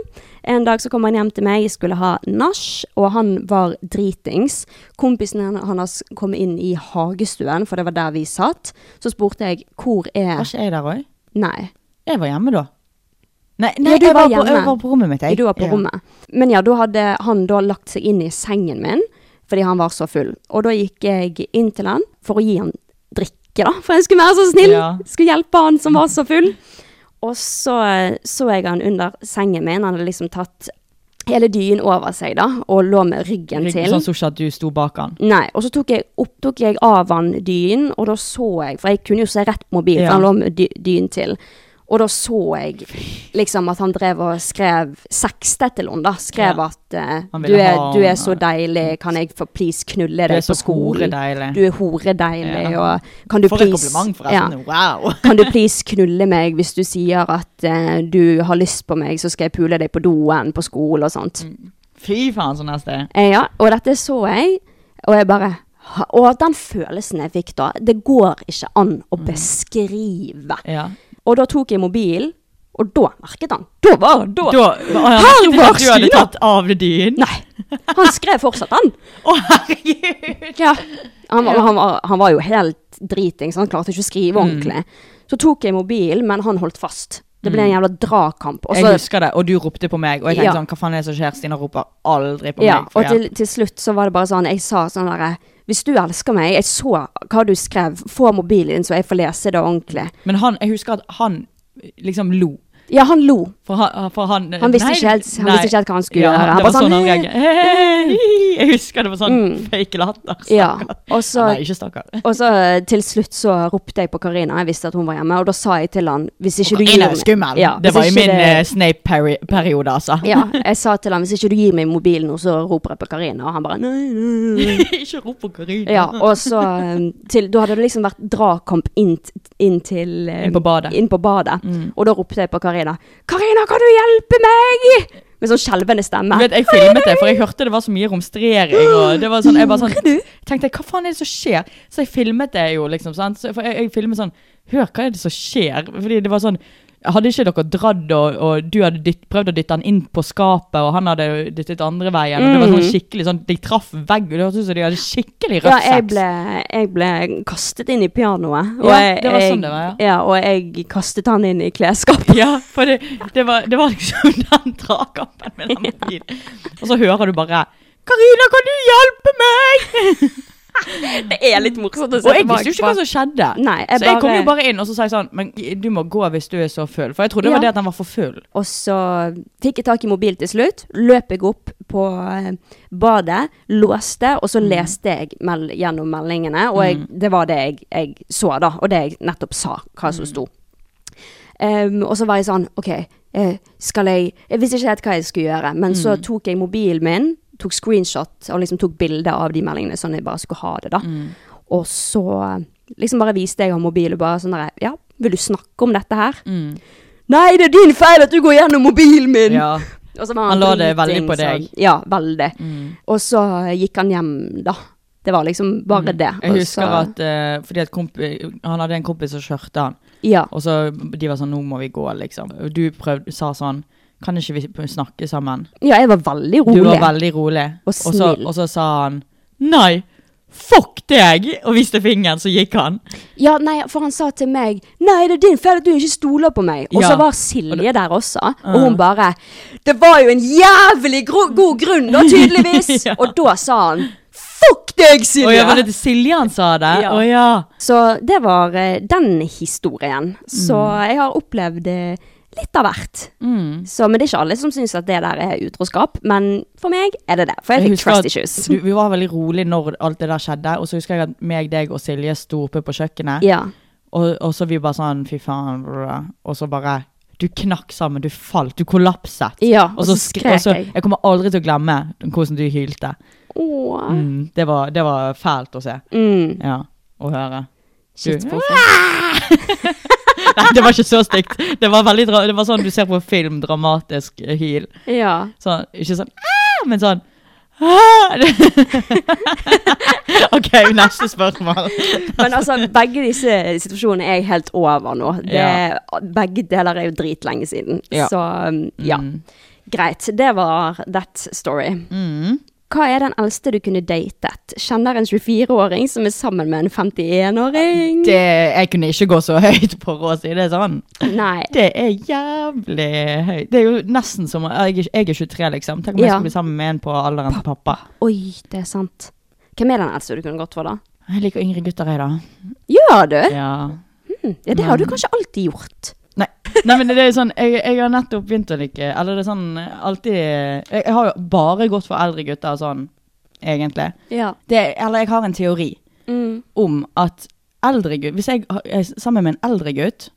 En dag så kom han hjem til meg, jeg skulle ha nach, og han var dritings. Kompisen han- hans kom inn i hagestuen, for det var der vi satt. Så spurte jeg hvor er Var ikke jeg der òg? Nei. Jeg var hjemme da. Nei, Ja, nei du jeg, var var på, hjemme. jeg var på rommet mitt. Jeg. Du var på Ja. rommet. Men ja, da hadde han da lagt seg inn i sengen min, fordi han var så full. Og da gikk jeg inn til han for å gi han drikke, da. For jeg skulle være så snill. Ja. Skulle hjelpe han som var så full. Og så eh, så jeg han under sengen min. Han hadde liksom tatt hele dynen over seg, da, og lå med ryggen Riktig, til. Sånn som ikke at du sto bak han. Nei, og så tok jeg, opp, tok jeg av han dynen, og da så jeg, for jeg kunne jo se rett på mobilen, Ja. for han lå med dy dynen til. Og da så jeg liksom at han drev og skrev sexte til henne, da. Skrev Ja. at eh, Han du ville er, ha du er henne. så deilig, kan jeg få please knulle Du er deg så på skolen? horedeilig. Du er horedeilig, Ja. og kan du For et please kompliment, forresten. Wow! Kan du please knulle meg hvis du sier at eh, du har lyst på meg, så skal jeg pule deg på doen på skolen og sånt. Fy faen, sånn så neste. Eh, Ja, og dette så jeg, og jeg bare ha- Og den følelsen jeg fikk da, det går ikke an å beskrive. Ja. Og da tok jeg mobilen, og da merket han. Da var han da! Da, å, ja, Her merket du var at du hadde Stina! tatt av dyn. Nei! Han skrev fortsatt, han. Å, herregud! Ja. Mm. Han, var, han, var, han var jo helt driting, så han klarte ikke å skrive ordentlig. Så tok jeg mobilen, men han holdt fast. Det ble en jævla dragkamp. Og jeg så husker det, og du ropte på meg. Og jeg tenkte Ja. sånn, hva faen er det som skjer? Stina roper aldri på Ja, meg. for og til, hjelp. til slutt så var det bare sånn Jeg sa sånn derre Hvis du elsker meg, jeg så hva du skrev, få mobilen din så jeg får lese det ordentlig. Men han, jeg husker at han liksom lo. Ja, han lo. For han, eh, for han, Han visste ikke helt- han visste ikke helt hva han skulle gjøre. Han Det bare var sånn sånn, han reagerte. Jeg husker det var sånn fake latter. Stakkar. Mm. Ja, og så- Nei, ikke stakkar. Og så eh, til slutt så ropte jeg på Karina, jeg visste at hun var hjemme, og da sa jeg til han Hvis ikke du gir Karina er meg- skummel. Ja, det hvis var i ikke min eh, det- Snape-periode, altså. Ja, jeg sa til han hvis ikke du gir meg mobilen nå, så roper jeg på Karina, og han bare nei, nei, nei. ikke rop på Karina. Ja, og så um, til, Da hadde det liksom vært dragkamp inn, t- inn til um, Inn på badet. Mm. inn på badet. Og da ropte jeg på Karina. 'Karina, kan du hjelpe meg?' Med sånn skjelvende stemme. Du vet, Jeg filmet det, for jeg hørte det var så mye romstrering. Og det var sånn, jeg bare sånn, tenkte hva faen er det som skjer? Så jeg filmet det jo, liksom. sant? Så, for jeg, jeg filmet sånn Hør, hva er det som skjer? Fordi det var sånn hadde ikke dere dratt, og, og du hadde dytt, prøvd å dytte han inn på skapet, og han hadde dyttet andre veien, og det var sånn skikkelig sånn, de traff vegg, og det hørtes ut som de hadde skikkelig Mm. Ja, rødt jeg sex. ble, jeg ble kastet inn i pianoet. Ja, jeg, det var jeg- sånn det var, ja. Og jeg kastet han inn i klesskapet. Ja, for det, det, var, det var liksom den dragkampen med den mobilen. Og så hører du bare 'Karina, kan du hjelpe meg?' Det er litt morsomt å se Og jeg visste jo ikke hva som skjedde. Nei, jeg så jeg kom bare- jo bare inn og så sa jeg sånn Men du må gå hvis du er så full. For jeg trodde det Ja. var det at han var for full. Og så fikk jeg tak i mobilen til slutt, løp jeg opp på eh, badet, låste, og så leste jeg mel gjennom meldingene, og jeg, det var det jeg, jeg så da, og det jeg nettopp sa, hva som sto. Em, og så var jeg sånn, ok, eh, skal jeg, jeg visste ikke helt hva jeg skulle gjøre, men så tok jeg mobilen min, tok screenshot, og liksom tok bilder av de meldingene, sånn jeg bare skulle ha det da. Og så liksom bare viste jeg ham mobilen, og bare sånn der, ja, vil du snakke om dette her? Nei, det er din feil at du går gjennom mobilen min! Ja. Og så var Han la det veldig dritings, på deg. Mm. og- Ja, veldig. Og så gikk han hjem, da. Det var liksom bare det. altså. Mm. Jeg Og husker så, at eh, fordi at kompi, han hadde en kompis som kjørte han, Ja. og så de var sånn 'Nå må vi gå', liksom. Og du prøvde, sa sånn 'Kan ikke vi snakke sammen?' ja, jeg var veldig rolig. Du var veldig rolig. Og så, snill. og så sa han 'Nei, fuck deg!' og viste fingeren, så gikk han. Ja, nei, for han sa til meg Nei, det er din feil at du ikke stoler på meg. Og Ja. så var Silje der også, og hun bare Det var jo en jævlig gro god grunn, da, tydeligvis! Ja. Og da sa han Fuck Fuck deg, Å ja, Silje! var det Siljan sa det? Ja. Å ja. Så det var eh, den historien. Så jeg har opplevd eh, litt av hvert. Mm. Så, men det er ikke alle som syns at det der er utroskap, men for meg er det det. For jeg fikk husker at trust issues. Du, vi var veldig rolig når alt det der skjedde, og så husker jeg at meg, deg og Silje sto oppe på kjøkkenet, Ja. og, og så vi bare sånn fy faen, brr», og så bare du knakk sammen, du falt, du kollapset. ja. Og så skrek jeg. Jeg kommer aldri til å glemme hvordan du hylte. Åh. Mm, det, var, det var fælt å se. Mm. Ja, å høre. Shit, Du- for Nei, det var ikke så stygt. Det var, veldig, dra- det var sånn du ser på film, dramatisk eh, hyl. Ja. Sånn, ikke sånn «Ah!», men sånn «Ah!» OK, neste spørsmål. Men altså, begge disse situasjonene er jeg helt over nå. Det, Ja. Begge deler er jo dritlenge siden. Ja. Mm. Så um, ja. Greit. Det var that story. Mm. Hva er den eldste du kunne datet? Kjenner en 24-åring som er sammen med en 51-åring? Det, jeg kunne ikke gå så høyt på å si det sånn. Nei. Det er jævlig høyt. Det er jo nesten som Jeg, er- jeg er 23, liksom. Tenk om jeg Ja. skulle bli sammen med en på alderen til pappa. Oi, det er sant. Hvem er den eldste du kunne gått for, da? Jeg liker yngre gutter, jeg, da. Gjør du? Ja. Ja, det har du kanskje alltid gjort. Nei. Nei, men det er sånn Jeg, jeg har nettopp begynt å like Eller det er sånn alltid Jeg, jeg har jo bare gått for eldre gutter sånn, egentlig. Ja. Det, eller jeg har en teori Mm. om at eldre gutt Hvis jeg har- er sammen med en eldre gutt,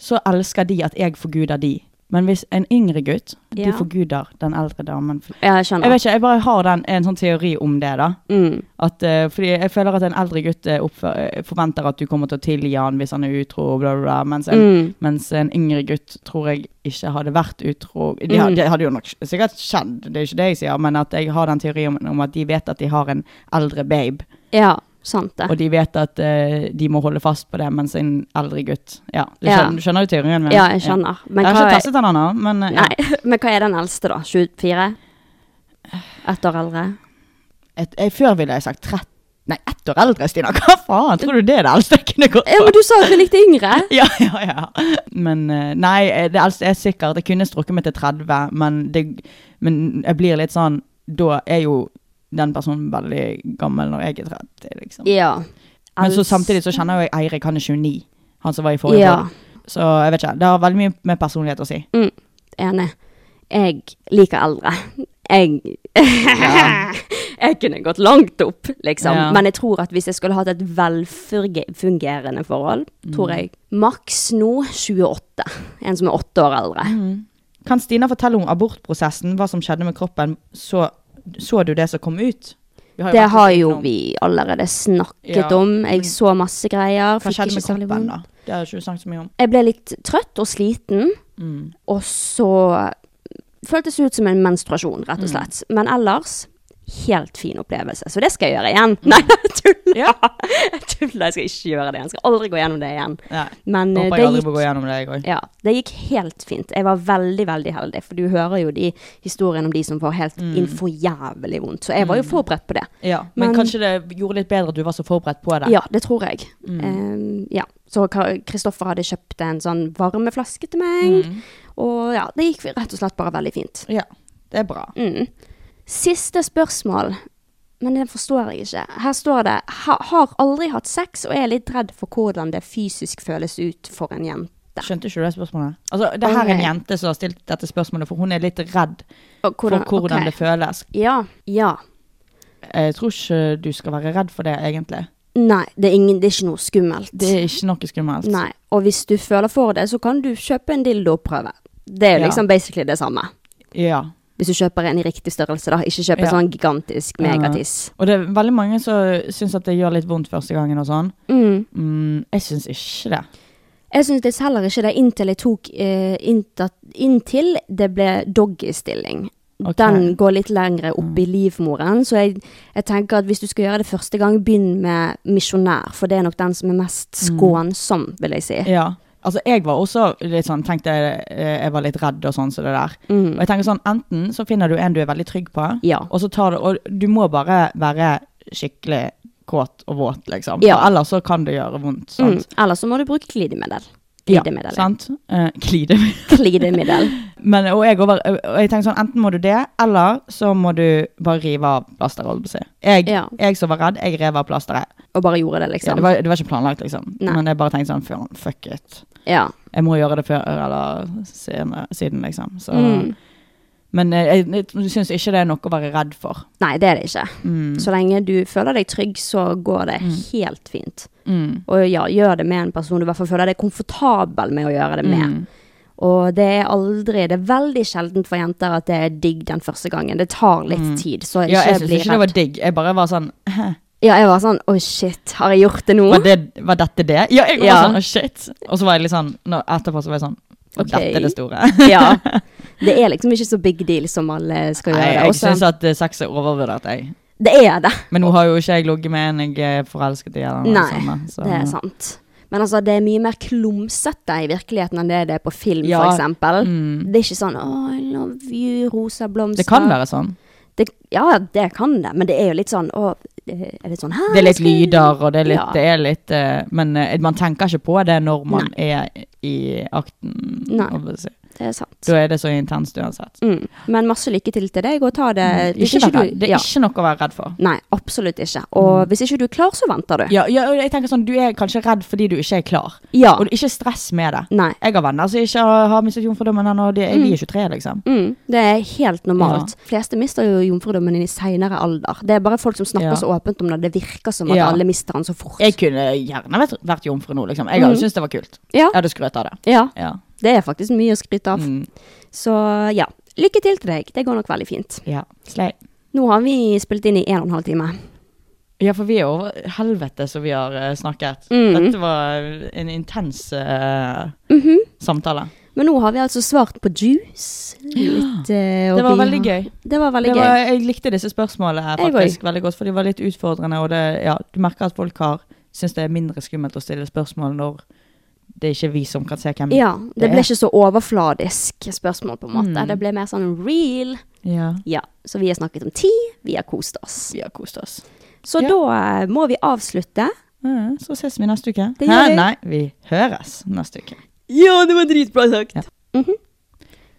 så elsker de at jeg forguder de. Men hvis en yngre gutt, de Ja. forguder den eldre damen. Jeg Jeg skjønner. vet ikke, jeg bare har den, en sånn teori om det, da. Mm. At, eh, fordi jeg føler at en eldre gutt eh, oppfø- eh, forventer at du kommer til å tilgi han hvis han er utro, og bla, bla, bla. Mens en, Mm. mens en yngre gutt tror jeg ikke hadde vært utro. Det ha- Mm. det hadde jo nok sikkert skjedd, det er ikke det jeg sier, men at jeg har den teorien om, om at de vet at de har en eldre babe, Ja, sant det. og de vet at eh, de må holde fast på det, mens en eldre gutt Ja, du Ja. skjønner, du skjønner jo teorien min? Ja, jeg skjønner. Men Jeg har hva ikke er- testet den ennå, men eh, ja. Nei, men hva er den eldste da? 24? Ett år eldre? Et, jeg, før ville jeg sagt 30 Nei, ett år eldre, Stina. Hva faen? Tror du det er det eldste jeg kunne gått Ja, for? men du sa at vi likte yngre. Ja, ja, ja. Men eh, nei, eh, det eldste er sikkert Jeg kunne strukket meg til 30, men, det, men jeg blir litt sånn Da er jo den personen veldig gammel når jeg er 30, liksom. Ja. altså- Men så samtidig så kjenner jo jeg Eirik, han er 29. Han som var i forrige Ja, podd. Så jeg vet ikke. Det har veldig mye med personlighet å si. enig. Jeg liker eldre. Jeg Jeg kunne gått langt opp, liksom. Ja. Men jeg tror at hvis jeg skulle hatt et velfungerende forhold, Mm. tror jeg maks nå 28. En som er åtte år eldre. Kan Stina fortelle om abortprosessen, hva som skjedde med kroppen? Så, så du det som kom ut? Vi jo Det vært har litt jo innom. vi allerede snakket Ja. om. Jeg så masse greier. Hva fikk skjedde ikke med så veldig kroppen, vondt. da? Det har jeg ikke snakket så mye om. Jeg ble litt trøtt og sliten, Mm. og så føltes det ut som en menstruasjon, rett og Mm. slett. Men ellers helt fin opplevelse, så det skal jeg gjøre igjen. Nei, jeg tuller! Mm. Ja. Jeg tuller, jeg skal ikke gjøre det igjen. Jeg skal aldri gå gjennom det igjen. Nei. Men eh, Håper det jeg aldri gikk må gå gjennom det, jeg òg. ja, det gikk helt fint. Jeg var veldig, veldig heldig, for du hører jo de historiene om de som får helt mm. for jævlig vondt. Så jeg Mm. var jo forberedt på det. Ja, men, Men- kanskje det gjorde litt bedre at du var så forberedt på det. Ja, det tror jeg. Mm. Eh, ja. Så Ka- Kristoffer hadde kjøpt en sånn varmeflaske til Mm. meg. Og ja, det gikk rett og slett bare veldig fint. Ja, det er bra. Mm. Siste spørsmål, men det forstår jeg ikke. Her står det ha, 'Har aldri hatt sex og er litt redd for hvordan det fysisk føles ut for en jente'. Skjønte ikke du det spørsmålet? Altså, det her er en Ok. jente som har stilt dette spørsmålet, for hun er litt redd Og for hvordan ok. det føles. Ja. Ja. Jeg tror ikke du skal være redd for det, egentlig. Nei, det er, ingen, det er ikke noe skummelt. Det er ikke noe skummelt. Nei. Og hvis du føler for det, så kan du kjøpe en dildo og prøve. Det er jo Ja. liksom basically det samme. Ja. Hvis du kjøper en i riktig størrelse, da. Ikke kjøp en Ja. sånn gigantisk megatiss. Og det er veldig mange som syns at det gjør litt vondt første gangen og sånn. Mm. Mm, jeg syns ikke det. Jeg syns det heller ikke det inntil jeg tok eh, innta, Inntil det ble doggystilling. Ok. Mm. Den går litt lengre opp i livmoren, så jeg, jeg tenker at hvis du skal gjøre det første gang, begynn med misjonær, for det er nok den som er mest skånsom, vil jeg si. Mm. Ja. Altså, jeg var også litt sånn, tenkte jeg, jeg var litt redd og sånn som det der. Og jeg tenker sånn, enten så finner du en du er veldig trygg på, Mm. Ja. og så tar du, og du må bare være skikkelig kåt og våt, liksom. Ja. For ellers så kan det gjøre Mm. vondt, sant? Eller så må du bruke glidemiddel. Glidemiddel. sant? Eh, glidemiddel. Glidemiddel. Men, og, jeg over, og jeg tenkte sånn, enten må du det, eller så må du bare rive av plasteret. holdt på å si. Jeg, Ja. jeg som var redd, jeg rev av plasteret. Og bare gjorde det, Ja, liksom. det, var, det var ikke planlagt, liksom. Nei. Men jeg bare tenkte sånn, faen, fuck it. Ja. Jeg må gjøre det før eller senere, siden, liksom. Så, Mm. Men eh, jeg, jeg syns ikke det er noe å være redd for. Nei, det er det ikke. Mm. Så lenge du føler deg trygg, så går det helt fint. Mm. Og ja, gjør det med en person du i hvert fall føler deg komfortabel med å gjøre det med. Mm. Og det er aldri, det er veldig sjeldent for jenter at det er digg den første gangen. Det tar litt Mm. tid, så ikke Ja, jeg syns bli ikke det var redd. digg. Jeg bare var sånn Ja, jeg var sånn, å shit, har jeg gjort det nå? Var, det, var dette det? Ja, jeg var Ja. sånn, «Å, shit. Og så var jeg litt sånn nå, Etterpå så var jeg sånn Og Ok. dette er det store. ja. Det er liksom ikke så big deal som alle skal Nei, gjøre. jeg Og så- syns at eh, sex er overvurdert, jeg. det er det, Men nå har jo ikke jeg ligget med en jeg er forelsket i. Eller noe Nei, sånt, så. det er sant. Men altså, det er mye mer klumsete i virkeligheten enn det det er på film, Ja, for eksempel. mm. Det er ikke sånn, åh, I love you, rosa blomster. Det kan være sånn. Det, ja, det kan det, men det er jo litt sånn, åh, det er litt sånn, «Hæ, Det er litt skal jeg-» lyder, og det er litt, Ja. det er litt eh, Men eh, man tenker ikke på det når man er i akten. Nei. holdt jeg på å si. Det er sant. Da er det så intenst uansett. Mm. Men masse lykke til til deg, og ta Eh, det. hvis Mm. Ikke vær du- redd. Det er ja. ikke noe å være redd for. Nei, absolutt ikke. Og hvis ikke du er klar, så venter du. Ja, ja, og jeg tenker sånn, Du er kanskje redd fordi du ikke er klar, Ja. og ikke stress med det. Nei. Jeg har venner som ikke har mistet jomfrudommen ennå, og de, de er 23, liksom. Mm, det er helt normalt. De fleste mister jo jomfrudommen i senere alder. Det er bare folk som snakker Ja. så åpent om det. Det virker som at Ja. alle mister den så fort. Jeg kunne gjerne vært, vært jomfru nå, liksom. Mm. Jeg hadde syntes det var kult. Ja. Jeg hadde skrøt av det. ja, Ja. det er faktisk mye å skryte av. Mm. Så ja, lykke til til deg. Det går nok veldig fint. ja. Slay. Nå har vi spilt inn i en og en halv time. Ja, for vi er over helvete som vi har eh, snakket. Mm. Dette var en intens eh, samtale. Men nå har vi altså svart på juice. Litt, eh, og Det var vi veldig har- gøy. Det var veldig Det var, gøy. jeg likte disse spørsmålene her Jeg faktisk veldig godt, for de var litt utfordrende. Og det, ja, du merker at folk har syns det er mindre skummelt å stille spørsmål når det er ikke vi som kan se hvem Ja, det ble Mm. er. ikke så overfladisk spørsmål, på en måte. Mm. Det ble mer sånn real. Ja. Ja, så vi har snakket om ti, vi har kost oss. Vi har kost oss. Så Ja. da eh, må vi avslutte. Mm, så ses vi neste uke. Det gjør Hæ? vi. Nei, vi høres neste uke. Ja, det var dritbra sagt. Ja. Mhm.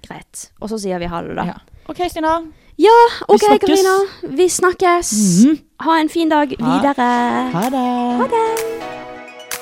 Greit. Og så sier vi ha det, da. Ja. Ja, OK, Stina. OK, snakkes. Mhm. Karina. Vi snakkes. Ha en fin dag Ha- videre. Ha det. Ha det.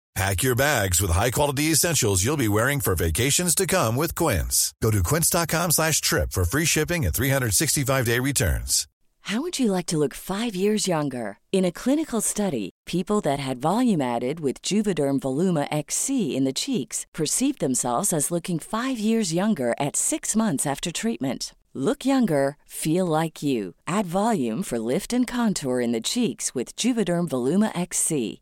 Pack your bags with high-quality essentials you'll be wearing for vacations to come with Quince. Go to quince.com slash trip for free shipping and 365-day returns. How would you like to look five years younger? In a clinical study, people that had volume added with Juvederm Voluma XC in the cheeks perceived themselves as looking five years younger at six months after treatment. Look younger, feel like you. Add volume for lift and contour in the cheeks with Juvederm Voluma XC.